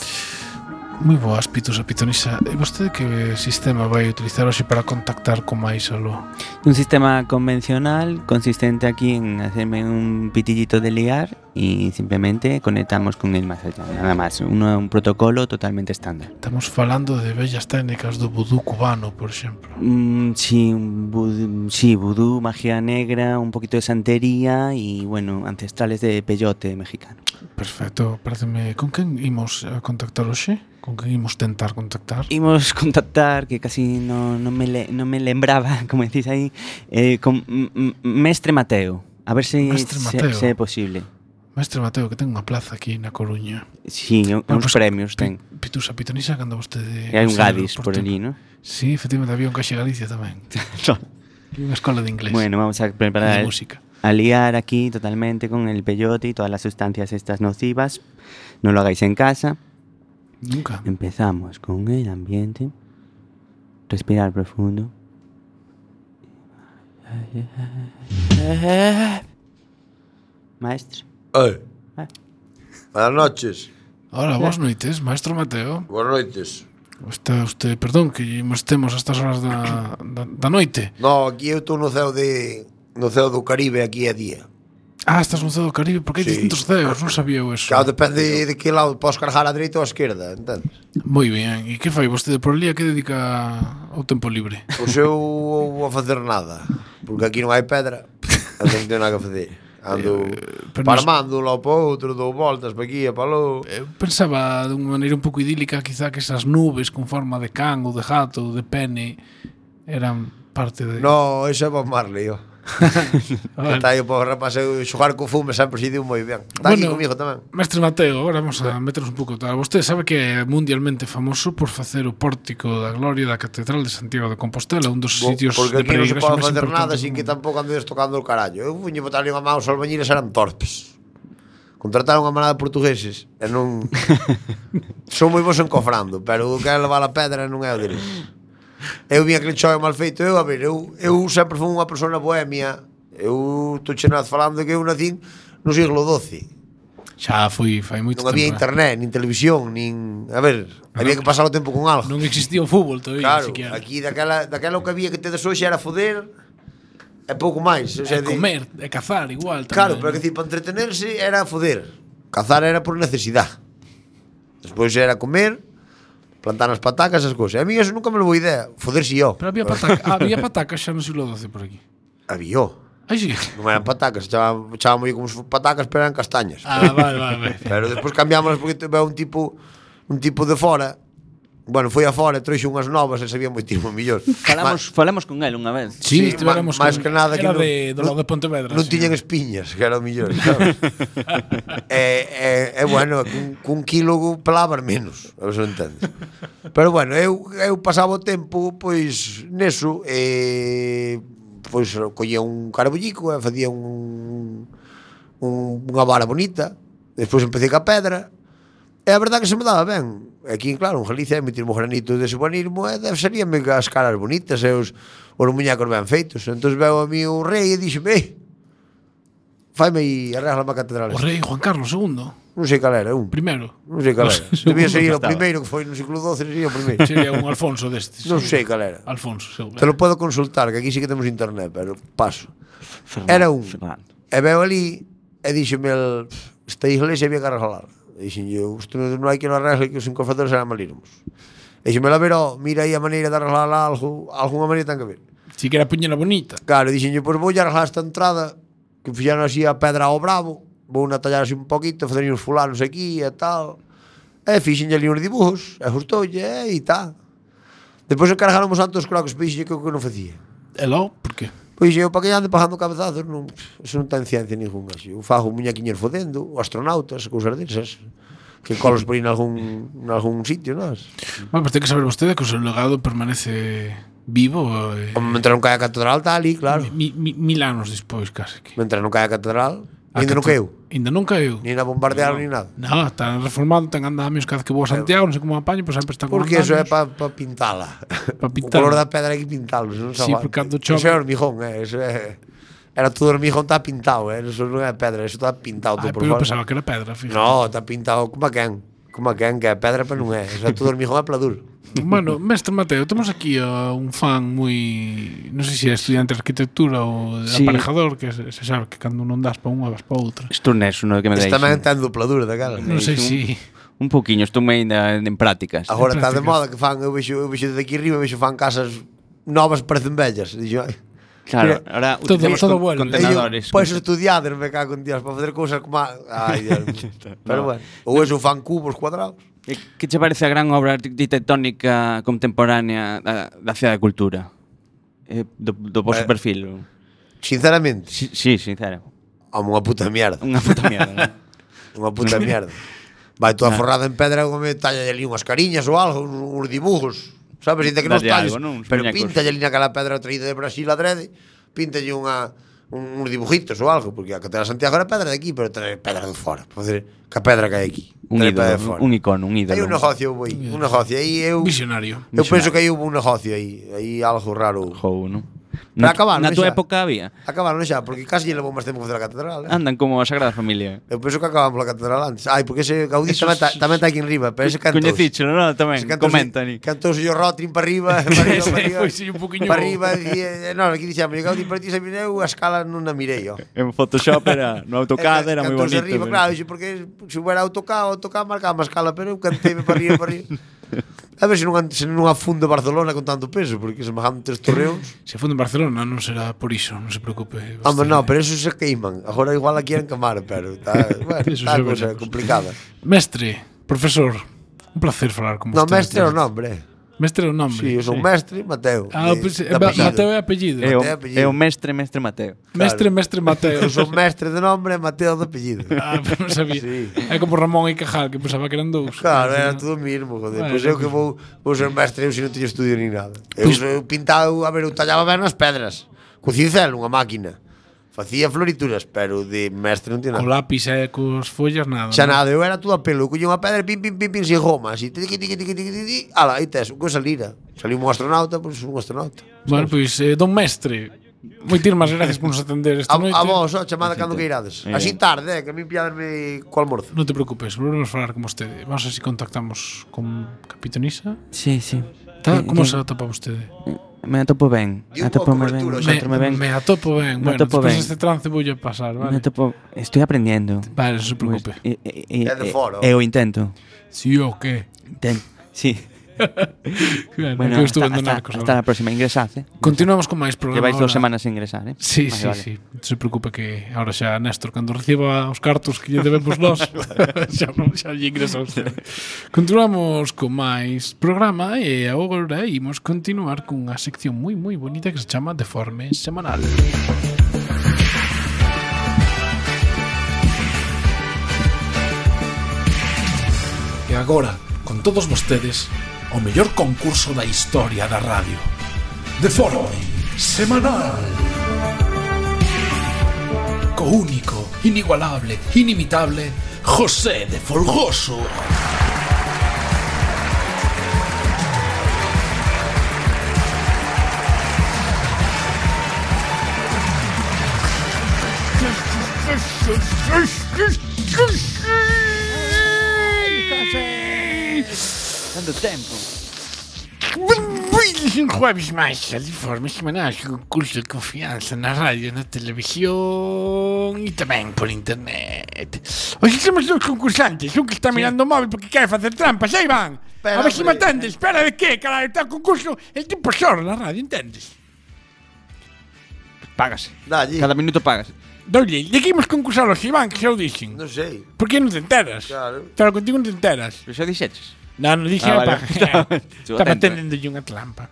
Moi boas, Pitusa Pitonisa E vostede que sistema vai utilizar hoxe para contactar con máis aló? Un sistema convencional consistente aquí en hacerme un pitillito de liar y simplemente conectamos con el más allá, nada más. Uno, un protocolo totalmente estándar. Estamos falando de bellas técnicas do vudú cubano, por exemplo Mm, sí, un vudú, sí, vudú, magia negra, un poquito de santería y bueno, ancestrales de peyote mexicano. Perfecto, pareceme Con quen imos a contactar hoxe? Con quen imos tentar contactar? Imos contactar, que casi no, no, me, le, no me lembraba, como decís ahí, eh, con M- M- Mestre Mateo. A ver si Mestre se- Mateo. se é posible. Mestre Mateo, que ten unha plaza aquí na Coruña Sí, un- Bueno, uns pues, eh, premios ten. Pitusa Pitonisa cando vostede E hai un saíu do Gadis por Portela. allí, ¿no? Sí, efectivamente, había un Caixa Galicia tamén E unha escola de inglés Bueno, eh. vamos a preparar de el- música. a liar aquí totalmente con el peyote y todas las sustancias estas nocivas. No lo hagáis en casa. Nunca. Empezamos con el ambiente. Respirar profundo. Maestro. Oi. Buenas noches. Hola, boas noites, Maestro Mateo Boas noites. Está usted, perdón, que imos temos a estas horas da, da, da noite No, aquí eu estou no ceo de no ceo do Caribe aquí a día. Ah, estás no ceo do Caribe, porque hai Sí. distintos ceos, non sabía eu eso Claro, depende de que lado podes cargar a dereita ou a esquerda, entendes? Moi ben, e que fai vostede por ali a que dedica o tempo libre? Pois eu vou a facer nada, porque aquí non hai pedra, e non tenho nada que facer. Ando Eh, pero para nos- Eh, mando lá para outro, dou voltas para aquí e para lo. Pensaba dunha maneira un pouco idílica quizá que esas nubes con forma de can ou de gato ou de pene eran parte de... No, eso é Bob Marley, ó. Ah, Que Está aí o pobre rapaz, eu xogar co fume sempre se deu moi ben. Está aquí Bueno, comigo tamén. Mestre Mateo, agora vamos a meternos un pouco tal. Vostede sabe que é mundialmente famoso por facer o pórtico da gloria da Catedral de Santiago de Compostela, un dos Bo- sitios porque de aquí non se peregrinaxe pode máis facer nada importantes. sin que tampouco andes tocando o carallo. Eu fuñe botarle unha mão aos albañiles eran torpes. Contrataron a manada de portugueses e non... Son moi bons encofrando, pero o que é levar a pedra non é o deles. Eu vi aquele choio mal feito, eu, a ver, eu, eu sempre fui unha persona bohemia, eu estou chenado falando que eu nacín no siglo XII. Xa foi fai moito non había tempo, eh. internet, nin televisión, nin... A ver, había que pasar o tempo con algo. Non existía o fútbol todavía, Claro, siquiera. aquí daquela, daquela o que había que tedes hoxe era foder e pouco máis. O sea, E comer, e cazar igual tamén. Claro, pero que dicir, para entretenerse era foder. Cazar era por necesidade. Despois era comer, plantar as patacas, as cousas. A mí eso nunca me lo vou idea. Foder si yo. Pero había pataca, había patacas xa no siglo XII por aquí. Había. Ai, sí. Non eran patacas, chamaban, chamaban como se fo- patacas, pero eran castañas. Ah, vale, vale, vale. Pero despois cambiámonos porque teve un tipo un tipo de fora. Bueno, foi afora, trouxe unhas novas e sabía moitísimo mellor. Falamos, falamos con él una vez. Sí, Sí, estivéramos ma- máis con- que nada que Era non- de, do lado de Pontevedra. non sí. tiñan espiñas, que era o mellor, sabes? e, e, e, bueno, cun, cun quilo palabras menos, a ver se o entendes. Pero bueno, eu, eu pasaba o tempo, pois, neso, e, pois, collía un carabullico e facía un, un, unha vara bonita, despois empecé ca pedra, e a verdade que se me daba ben. Aquí, claro, en Galicia, emitir un granito de buenismo, e salíanme as caras bonitas e os, os muñecos ben feitos. Entón veo a mí o rei e dixeme, "Ei, faime aí, arregla a catedral. O rei Juan Carlos II. Non sei cal era, un. Primeiro. Non sei Non cal era. sei, seguro Debía ser que o estaba. primeiro que foi no século XII, sería o primeiro. Sería un Alfonso destes. Non seguro. sei cal era. Alfonso, seguro. Te lo podo consultar, que aquí sí que temos internet, pero paso. Era un. E veo ali e díxeme el, esta iglesia había que arreglar. E dixen eu, isto non non hai que non arregle que os encofradores eran malirmos. E dixen, la veró, mira aí a maneira de arreglar algo, alguna maneira ten que ver. Si que era puñela bonita. Claro, e dixen eu, pois vou arreglar esta entrada, que fixaron así a pedra ao bravo, vou na tallar así un poquito, fazer uns fulanos aquí e tal. E fixen ali uns dibujos, e ajustoulle, e, e tal. Depois encargaron os santos croques, pixen que o que non facía. Hello, por qué? Pois eu, para que ande pagando cabezazos, non, eso non ten ciencia ninguna. xe. Eu fago muñequiños fodendo, o astronautas, cousas desas, que colos por aí nalgún, nalgún sitio, non? Bueno, pues ten que saber vostede que o seu legado permanece vivo eh, Como mentre non cae a catedral, está ali, claro. Mi, mi, mil anos despois, casi. Que. Mentre non cae a catedral, ainda non cate- caeu. Ainda non caiu. Ni na bombardearon, ni nada. No, está reformado, ten andamios cada vez que vou a Santiago, non sei como apaño, pois sempre está con Porque eso é andamios. para pa pintala. Pa O pintar. color da pedra hai que pintalos, non Sí, porque cando chove- Eso é hormigón, eh, eso é... Era todo hormigón, está pintado, eh? Eso non é pedra, eso está pintado. todo Ai, Ah, por pero eu fora. pensaba que era pedra, fíjate. No, está pintado como a quen. Como a quen, que é pedra, pero non é. Eso é todo hormigón, é pladur. Bueno, mestre Mateo, temos aquí a un fan moi, non sei se é estudiante de arquitectura ou de Sí. aparejador, que se, se sabe que cando non das pa unha, vas pa outra. Isto non é uno que me Esta deixen. man ten dupladura da cara. Non Me sei si- deixen Un, un poquinho, estou ainda en prácticas. Agora está de moda que fan, eu vexo, eu vexo desde aquí arriba, vexo fan casas novas parecen vellas. E Dixo, ai. Claro, ahora Todo- utilizamos todo con- vuelve. contenedores. Pois estudiades, me cago en dios, para facer cousas como... a- Ai, Dios. mío. Pero No. bueno, ou eso fan cubos cuadrados. E Que che parece a gran obra arquitectónica contemporánea da, da Cidade da Cultura? Eh, do, do vosso Eh, perfil? Sinceramente? Si, sí, sincero. Home, Ah, unha puta mierda. Unha puta mierda, né? unha puta mierda. Vai toda Nah. forrada en pedra, como talla ali unhas cariñas ou algo, uns, uns dibujos. Sabes, dite que non Dalle talles, algo, non? Uns pero muñecos. pinta ali naquela pedra traída de Brasil adrede, pintalle unha un, uns dibujitos ou algo, porque a Catedral de Santiago era pedra de aquí, pero trae pedra de fora. Para facer que a pedra que hai aquí. Un Trae pedra de ídolo, fora. un icono, un Hai ídolo. un negocio, boi, un negocio. Aí eu, Visionario. Eu penso Visionario. que hai un negocio aí, aí algo raro. Jou, non? Pero Na- acabaron na xa. túa época había? Acabaron xa, porque casi lle levou máis tempo que facer a catedral. Eh? Andan como a Sagrada Familia. Eu penso que acaban pola catedral antes. Ai, porque ese Gaudí tamén, ta, tamén está aquí en riba, pero ese cantou. Coñecíchelo, non? Tamén, comentan. Cantou o Rotring para arriba, para arriba, para arriba. pois Foi sí, un poquinho- Para arriba, e, non, aquí dixamos, Gaudí para ti se mireu, a escala non a mirei, ó. En Photoshop era, no AutoCAD era moi bonito. Cantouse eh. arriba, pero- claro, dixo, porque se hubiera autocado, autocado marcaba a escala, pero eu cantei para arriba, para arriba. A ver se non, se non afunda Barcelona con tanto peso, porque se me tres torreóns. Se funde en Barcelona non será por iso, non se preocupe. Home, non, pero eso se queiman. Agora igual a queren quemar, pero está, bueno, Eso está xa a cousa veremos. complicada. Mestre, profesor, un placer falar con No, vostede. mestre é o nombre. Mestre é o nombre. Sí, eu sou mestre Mateo. Ah, de- pois, de é ba- apellido. Mateo é apellido. É o, Mateo apellido. é o mestre, mestre Mateo. Mestre, mestre Mateo. Eu sou mestre de nombre e Mateo de apellido. Ah, pero non sabía. É como Ramón e Cajal, que pensaba que eran dous. Claro, era todo o mismo, joder. Bueno, Pois eu que vou, vou ser mestre, eu se non teño estudio ni nada. Eu, Pois- eu pintaba, a ver, eu tallaba ben as pedras. Co cincel, unha máquina. Facía florituras, pero de mestre non tiña Co nada. lápis e cos follas nada. Xa non? nada, eu era todo a pelo, eu collía unha pedra, pim, pim, pim, pim, sin goma, así, tiqui, tiqui, tiqui, tiqui, tiqui, ala, aí tes, unha salida. Saliu un astronauta, pois un astronauta. Bueno, pois, eh, don mestre, moitísimas gracias por nos atender esta A, noite. a vos, ó, chamada cando que irades. Eh. Así tarde, eh, que a mí piadanme co almorzo. Non te preocupes, volvemos a falar con vostede. Vamos a ver se contactamos con Capitonisa. Sí, sí. Tá, Eh, como eh, se atopa vostede? Me atopo ben. Atopome ben. Me, me, me atopo ben. Me Bueno, atopo despois ben. deste trance voulle pasar, Me vale? atopo... Estoy aprendiendo. Vale, non se preocupe. Pois, e, e, É de e, foro. e, e o intento. Si o que? Intento. Sí. Bueno, que eu estuve en hasta, Narcos hasta agora. a próxima. Ingresad, eh? Continuamos con máis programa. Lleváis dos ahora. semanas sin ingresar, eh? Sí, Vale, sí, vale. sí. Non se preocupe que ahora xa Néstor, cando reciba os cartos que lle debemos nós, xa, xa lle ingresa a usted. Continuamos con máis programa e agora imos continuar cunha sección moi moi bonita que se chama Deforme Semanal. E agora, con todos vostedes, o mellor concurso da historia da radio. Deforme Semanal. Co único, inigualable, inimitable, José de Folgoso. Tanto tempo. Un jueves máis a Deforme Semanal, concurso de confianza na radio, na televisión e tamén por internet. Hoxe temos dous concursantes, un que está mirando o móvil porque quere facer trampas, aí van. Espera, a ver se me hombre. atendes, espera de que, caralho, está o concurso, el tipo xor na radio, entendes? Págase. Cada minuto pagas. Doble, de que imos concursar hoxe, Iván, que xa o dixen? Non sei. Por que non te enteras? Claro. Pero contigo non te enteras. Pero xa dixeches. Non, non dixen ah, Ah, vale. vale. Estaba- Estaba atento, eh. tendendo unha trampa.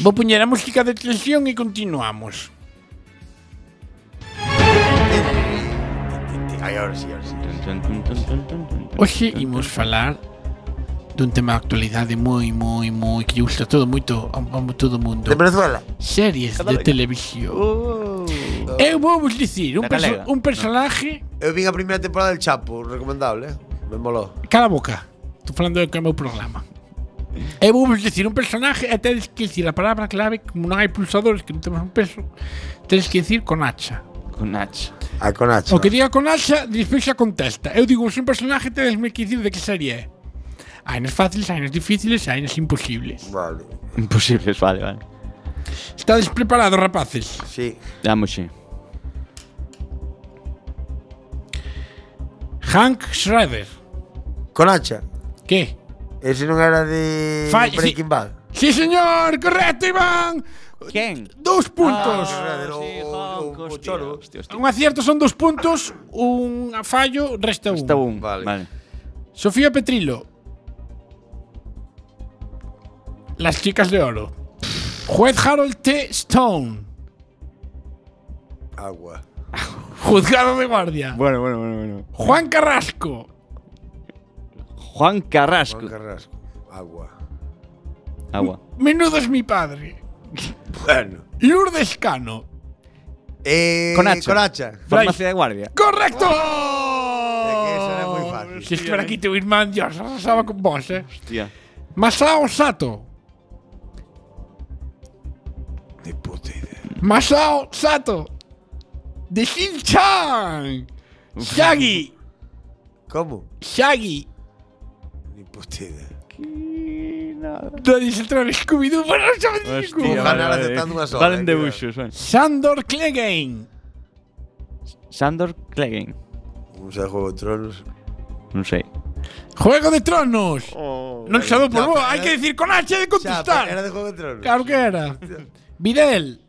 Vou poñer a música de tensión e continuamos. Ay, ahora sí, ahora sí. Hoxe imos falar dun tema de actualidade moi, moi, moi que lle gusta todo moito a, a todo mundo. De Venezuela. Series de Católica. televisión. Eu vou vos dicir un, Da perso galega. un personaje... Eu vi a primeira Eh, temporada del Chapo, recomendable, eh? Me moló. Cala a boca. Estou falando do que é o meu programa. Eu vou vos dicir un personaje e tedes que dicir a palabra clave como non hai pulsadores que non temos un peso tedes que dicir con hacha. Con hacha. Ah, con hacha. O que diga con hacha, despois xa contesta. Eu digo, se un personaje tedes me que dicir de que serie é. Hai nos fáciles, hai nos difíciles, hai nos imposibles. Vale. Imposibles, vale, vale. Estades preparados, rapaces? Sí. Vamos, sí. Hank Schrader. Con hacha. Que? Ese non era de Fall- Breaking Bad. Sí, señor, correcto, Iván. ¿Quién? Dos puntos. Un acierto son dos puntos, un fallo resta un. Está un. Uh, Vale. vale. Sofía Petrilo. Las chicas de oro. Juez Harold T. Stone. Agua. Juzgado de guardia. Bueno, bueno, bueno, bueno. Juan Carrasco. Juan Carrasco. Juan Carrasco. Agua. Agua. Menudo es mi padre. Bueno. Lourdes Cano. Eh, Con hacha. Con hacha. Farmacia de guardia. ¡Correcto! Oh. Oh, era muy fácil. Si estuviera aquí tu hermano, yo arrasaba con vos, eh. Tía. Masao Sato. Masao Sato. De Shin Chan. Shaggy. ¿Cómo? Shaggy. Ni puta idea. No dice el troll Scooby-Doo. Bueno, no sabe de Scooby-Doo. Ojalá acertando unha sola. Valen eh, de cuidado. buxos, bueno. Sandor Clegane. Sandor Clegane. Un xa Juego de Tronos. Non sei. Juego de Tronos. no se por Ya, vos. Oh, pero Hay era- que decir con H de contestar. Era de Juego de Tronos. Claro que era. Videl.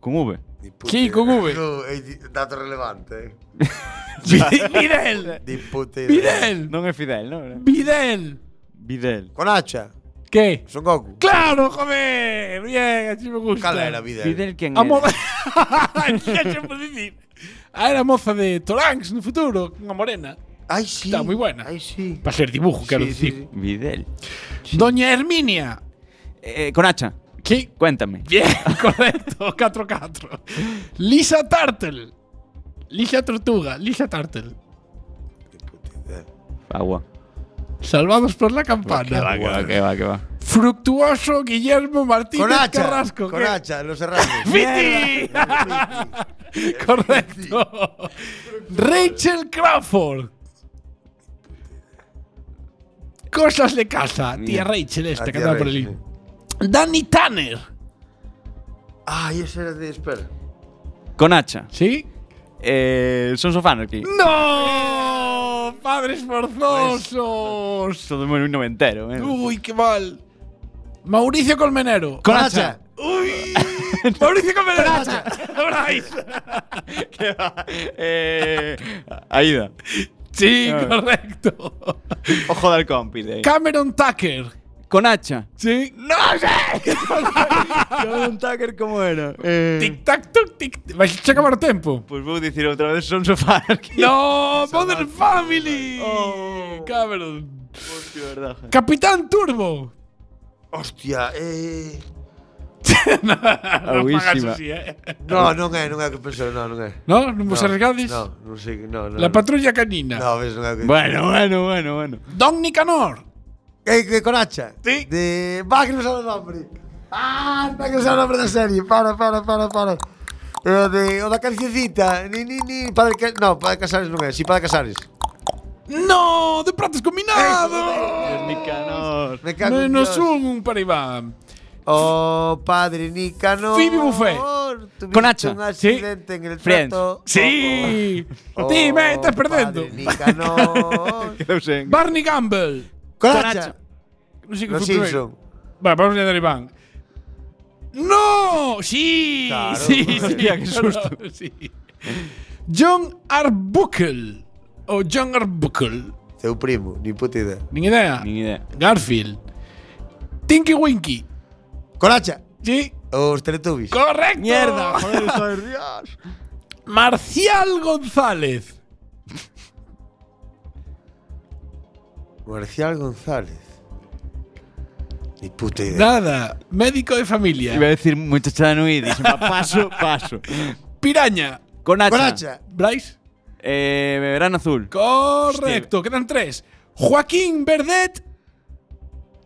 Con V. Sí, con V. No, eh, di- dato relevante. eh. Videl. Ni puta idea. Videl. Non é Fidel, non? Videl. Videl. Con hacha. ¿Qué? Son Goku. ¡Claro, joder! Bien, así me gusta. Cala era Vidal. Videl quen A é? moda. ya se puede decir. A Ah, era moza de Toranx no futuro, unha morena. Ay, sí. Está muy buena. Ay, sí. Para ser dibujo, quiero Sí, decir. Videl. Doña Herminia. Eh, con hacha. ¿Qué? Cuéntame. Bien, correcto. 4-4. Lisa Tartle. Lisa Tortuga. Lisa Tartle. Agua. Salvados por la campana. Que Pues va, que va, que va, que va. Fructuoso Guillermo Martínez Con hacha. Carrasco. Con ¿qué? hacha, los serranos. ¡Fiti! Correcto. Rachel Crawford. Cosas de casa. Tía Rachel, Ah, esta que tía andaba Este por Rachel, el. Danny Tanner. Ay, ese era de. Espera. Con hacha. ¿Sí? Eh, son sofanos aquí. ¡No! ¡Padres forzosos! Todo moi noventero, eh. ¡Uy, qué mal! Mauricio Colmenero. Con hacha. ¡Uy! ¡Mauricio Colmenero! Bryce. Que va. Eh, Aida. Sí, Ah. correcto. Ojo del compi. de eh. ahí. Cameron Tucker. Con hacha. ¿Sí? ¡No sé! Cameron Tucker, como era? Eh, Tic tac toc tic. Vais a acabar o tempo. pois vou dicir outra vez son sofá. No, Modern Family. Oh. Cameron. Hostia, verdad. Capitán Turbo. Hostia, eh. non fagas Agüísima. así, eh. No, non é, non é o que pensou, non, non é. No, non vos arriesgades. No, non sei, no, no. La patrulla canina. No, ves, non é o que Bueno, bueno, bueno, bueno. Don Nicanor. Eh, que con hacha. Sí. De. Va, que non sabe o nombre. Ah, va, que non sabe o nombre da serie. Para, para, para, para. Eh, O, de, o da cancioncita. Ni, ni, ni. Padre, Ca- no, Padre Casares non é. Si, Padre Casares. No, de pratos combinados. Nicanor. Me cago en Menos Dios. un, un para Iván. Oh, Padre Nicanor. Phoebe Buffet. Tuviste Con hacha. un Sí. accidente en el Friends. trato. Sí. Oh, oh, Dime, estás Padre perdendo. Nicanor. Quedou sen. Barney Gamble. Con hacha. Non sei que Los foi o primeiro. Simpson. Vale, vamos a dar Iván. ¡No! ¡Sí! Claro. sí, sí, qué susto. sí. John Arbuckle. O John Arbuckle. Teu primo, ni puta idea. Nin idea. Nin idea. Garfield. Tinky Winky. Coracha. Sí. Os Oh, Teletubbies. Correcto. Mierda, joder, joder, Marcial González. Marcial González. Ni puta idea. Nada. Médico de familia. Iba a decir muchacha de Nui, dije, "Pa- paso, paso. Piraña. Conacha. Conacha. Bryce. Eh, Verano Azul. Correcto. Quedan tres. Joaquín Verdet.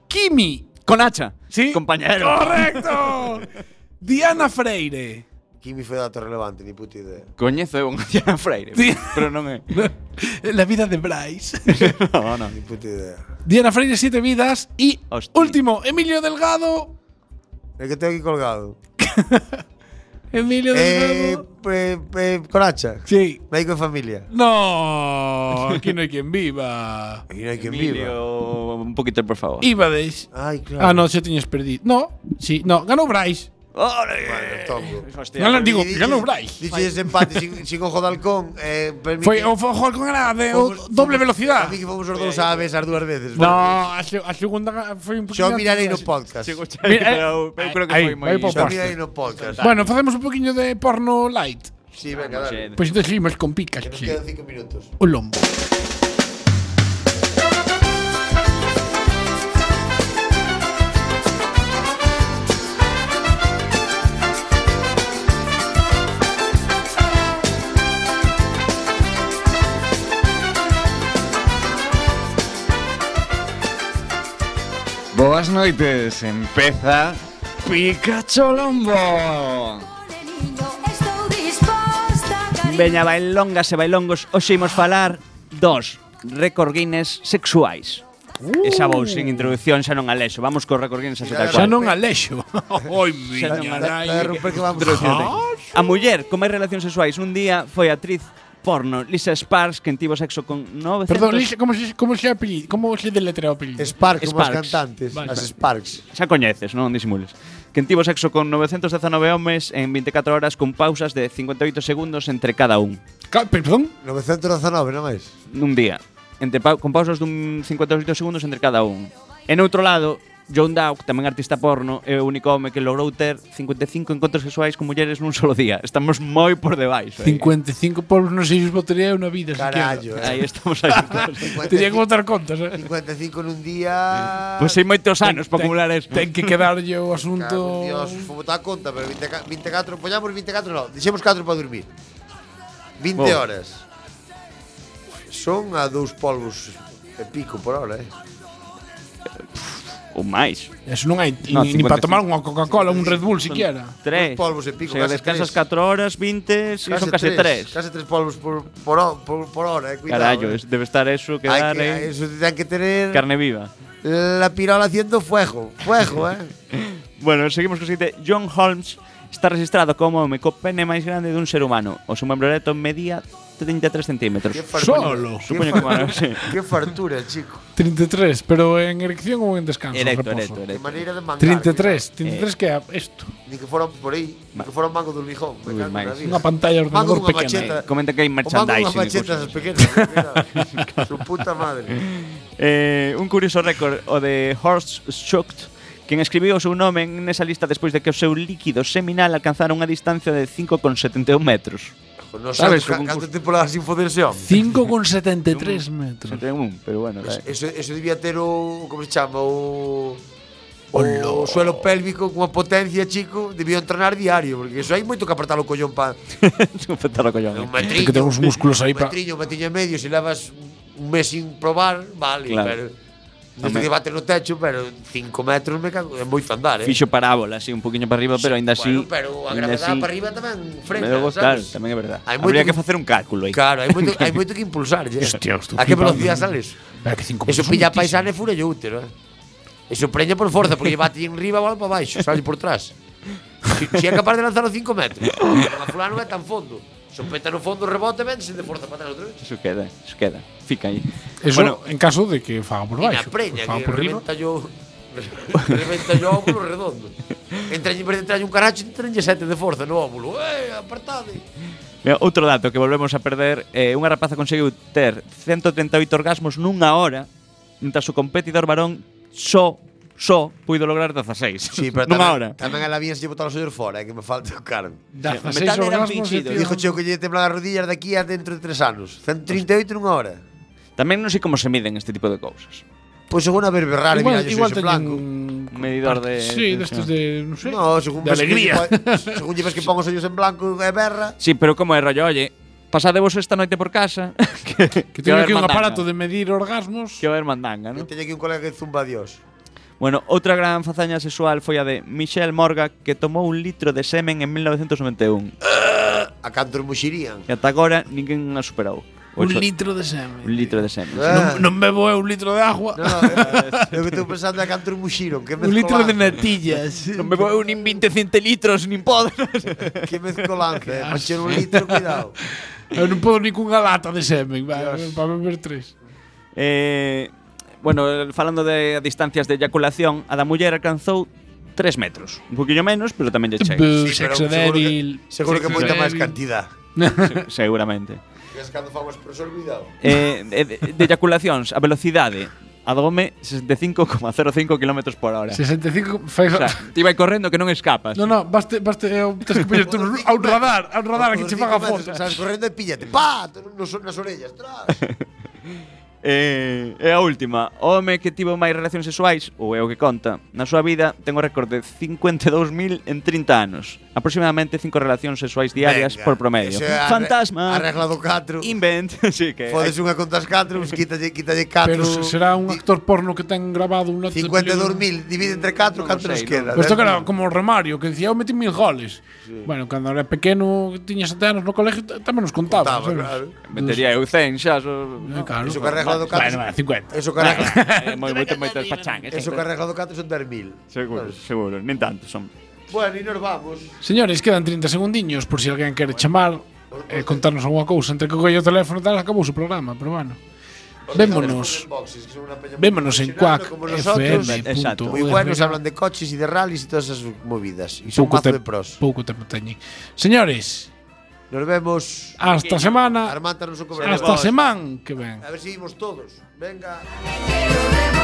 Kimi. Conacha. Sí. Compañero. Correcto. Diana Freire. Kimi foi dato relevante, ni puta idea. Coñezo é unha Diana Freire. Pero non é. La vida de Bryce. no, no. Ni puta idea. Diana Freire, siete vidas. Y último, Emilio Delgado. El que tengo aquí colgado. Emilio eh, Delgado. eh, eh, Coracha. Sí. Médico de familia. No, aquí no hay quien viva. Aquí no hay quien Emilio, un poquito, por favor. Ibades. Ay, claro. Ah, no, se tenías perdido. No, sí, no, ganó Bryce. Vale, tongo. Hostia, No, no, digo, Diches- ya no Bryce. Diches empate sin, sin ojo de halcón. Eh, permite- Foi o ojo halcón era de o- Fomos- doble fomos- velocidade. A mí que fomos os dous a besar dúas veces. No, a, se- a segunda ga- foi un poquinho… Yo miraré no podcast. Mira, eh, ahí, ahí pa Yo posto. miraré no podcast. Bueno, facemos un poquinho de porno light. Sí, venga, dale. Pois entón seguimos con picas. Que nos sí. quedan cinco minutos. O lombo. Boas noites, empeza Pikachu Lombo. Veña bailongas e bailongos, hoxe imos falar dos récord Guinness sexuais. Uh. Esa vou sin introducción, xa non alexo. Vamos co récord Guinness así tal Xa cual. non alexo. Oi, Xa non miña alexo. nai. Vai romper que vamos. A Ah. muller con máis relacións sexuais un día foi a actriz porno Lisa Sparks, quen tivo sexo con 900... Perdón, Lixa, como se, como se, apellido, como se deletrea o apellido? Sparks, como os cantantes, as Sparks. Xa coñeces, non disimules. Quen tivo sexo con 919 homes en 24 horas con pausas de 58 segundos entre cada un. Perdón? 919, non máis? Nun día. Entre pau con pausas dun 58 segundos entre cada un. En outro lado, John Dawk, tamén artista porno, é o único home que logrou ter 55 encontros sexuais con mulleres nun solo día. Estamos moi por debaixo. eh. aí. 55 pueblos non sei se os botaría unha vida Carallo, siquiera. eh. Aí estamos aí. Tería que botar contas, eh. 55 nun día... Pois hai moitos anos Ten- para acumular isto. Ten que quedarlle o asunto… Cago en Dios, vou botar a conta, pero pues 24, 24 poñamos 24, non, deixemos 4 para dormir. 20 Bo. horas. Son a dous polvos e pico por hora, eh. Ou máis. Eso non hai no, ni para tomar unha Coca-Cola, un Red Bull siquiera. Tres. Uns polvos e pico, Se case descansas 4 tres. horas, 20, sí, son casi 3. Case 3 polvos por, por, ho- por, por hora, eh, cuidado. Carallo, eh. es- debe estar eso que Hay dar que, eh. eso te que tener carne viva. la pirola haciendo fuego, fuego, eh. Bueno, seguimos co seguinte. John Holmes está registrado como o home co pene máis grande dun ser humano. O seu membro erecto medía 33 centímetros. Solo. Supoño que bueno, sí. Qué fartura, chico. 33, pero en erección ou en descanso, Erecto, reposo. erecto, Eh. Qué manera de mangar. eh. 33, 33 que é esto. Ni que fueron por ahí, ni que fueron mangos de un lijón. Uy, me cago en la Max. vida. Unha pantalla de Mango ordenador dunha pequena. macheta. Eh, comenta que hai O mango merchandising dunhas e machetas cousas. pequenas. cuidado. Su puta madre. Eh, un curioso récord, o de Horst Schucht, quen escribiu o seu nome nesa lista despois de que o seu líquido seminal alcanzara unha distancia de 5,71 metros. Mm. Non Sabes, sabes, Pues ca- este un cantas temporadas sin foder ese home. 5,73 metros. 71, pero bueno, Eso, da- Pues eso, eso debía ter o, como se chama, o... O suelo pélvico con a potencia, chico, debía entrenar diario, porque eso hai moito que apertar o collón pa... Afectar o collón. Un metrillo. que ten uns músculos aí un pa- metrillo, un metrillo e medio, se levas un mes sin probar, vale, Claro. pero... Home. Desde que bate no techo, pero 5 metros me cago, é moito andar, eh. Fixo parábola, así, un poquinho para arriba, pero ainda así... Bueno, pero a ainda gravedade así- para arriba tamén frena, Pero, Claro, sabes? tamén é verdade. Hai Habría que moito que- facer un cálculo aí. Claro, hai moito, hai moito que impulsar, lle. Hostia, estou A que flipando. velocidade sales? Pero que cinco Eso minutos pilla a son paisana e fura o útero, eh. Eso preña por forza, porque lle bate en riba e bola para baixo, sale por trás. Si, si é capaz de lanzar os 5 metros, pero a fulano non é tan fondo. Se o peta no fondo, rebote, ven, se de forza para atrás outra vez. Eso queda, eso queda. Fica aí. Eso Bueno, en caso de que faga por E na baixo. preña, faga que por arriba. reventa yo... reventa yo o óvulo redondo. Entra en vez de entrar un caracho, entra sete de forza no óvulo. Eh, apartade. mira, outro dato que volvemos a perder, eh, unha rapaza conseguiu ter 138 orgasmos nunha hora, mentre o seu competidor varón só só puido lograr 16. Sí, pero Nunha tamén, hora. tamén a la vía se lle botar os ollos fora, eh, que me falta o carne. Da Sí, 16 metade eran orgasmos, este, fingidos. tío. Dixo cheo que lle temblan as rodillas de aquí a dentro de tres anos. 138 nunha hora. Tamén non sei como se miden este tipo de cousas. Pois según a berberrar Igual- e igual mirallos ese teñen blanco. Un medidor de Sí, destes de, non sei. No, según de ves que alegría. lle pon- según lle ves que pon os ollos en blanco e berra. Sí, pero como é rollo, oye, pasadevos esta noite por casa. que que Que teño va a haber aquí un mandanga. aparato de medir orgasmos. Que va a haber mandanga, ¿no? Teño aquí un colega que zumba dios. Bueno, outra gran fazaña sexual foi a de Michelle Morga que tomou un litro de semen en 1991. A cantos muxirían. E ata agora ninguén a superou. Un Ocho- litro de semen. Un litro de semen. Ah. Non, non bebo eu un litro de agua. Eh. Eu que estou pensando é a cantos muxiron, que Un litro de natillas. non bebo eu nin 20 centilitros, nin podres. que mezcolanza, eh. Ah, Pa encher un litro, cuidado. Eu non podo ni cunha lata de semen, va, para beber tres. Eh, bueno, falando de distancias de eyaculación, a da muller alcanzou 3 metros. Un poquillo menos, pero tamén lle chega. Bu, Sí, pero sexo seguro que- débil, seguro que moita máis cantidad. cantidad. seguramente. Que es cando famos preso olvidado. Eh, de, de eyaculacións, a velocidade a do home e 65,05 km por hora. 65 O fai sea, ti vai correndo que non escapas. No, no, baste, baste, eh, tes que poñer tú a un radar, a un radar que che faga fotos. Sabes, correndo e píllate. Pa! Nos, nas orellas. Tra. Eh, e a última, o home que tivo máis relacións sexuais, ou é o que conta, na súa vida ten o récord de 52.000 en 30 anos. Aproximadamente 5 relacións sexuais diarias Venga, por promedio. eso é arre- Fantasma. Arregla do 4. Invent. sí, que Fodes unha contas 4, uns quítalle, quítalle 4. Pero se- será un actor porno que ten grabado un lote de 52.000, divide entre No 4, canto sei, nos no. queda. Pero isto que era como o Romario, que decía, eu metí mil goles. Bueno, cando era pequeno, tiña sete anos no colegio, t- tamén nos contaba. Contaba, sabes? claro. Metería eu 100 xa. So... Eh, claro. Eso que arregla do 4. Bueno, bueno, 50. Eso que arregla. Eh, moi- eh. moito- moitos pachangues. Eso que arregla do 4 son 10.000. Seguro, seguro. Nin tanto son. Bueno, e nos vamos. Señores, quedan 30 segundiños por si alguén quere chamar e contarnos algunha cousa. Entre que colle o teléfono e tal, acabou o programa, pero bueno. Vémonos. Vémonos en Exacto. Muy buenos, cuac.fm. hablan de coches y de rallies y todas esas movidas. Y son Pouco te, mazo de pros. pouco tempo teñen. Señores, Nos vemos. Hasta semana. Armanta non so Hasta semana que ven. A ver si vimos todos. Venga.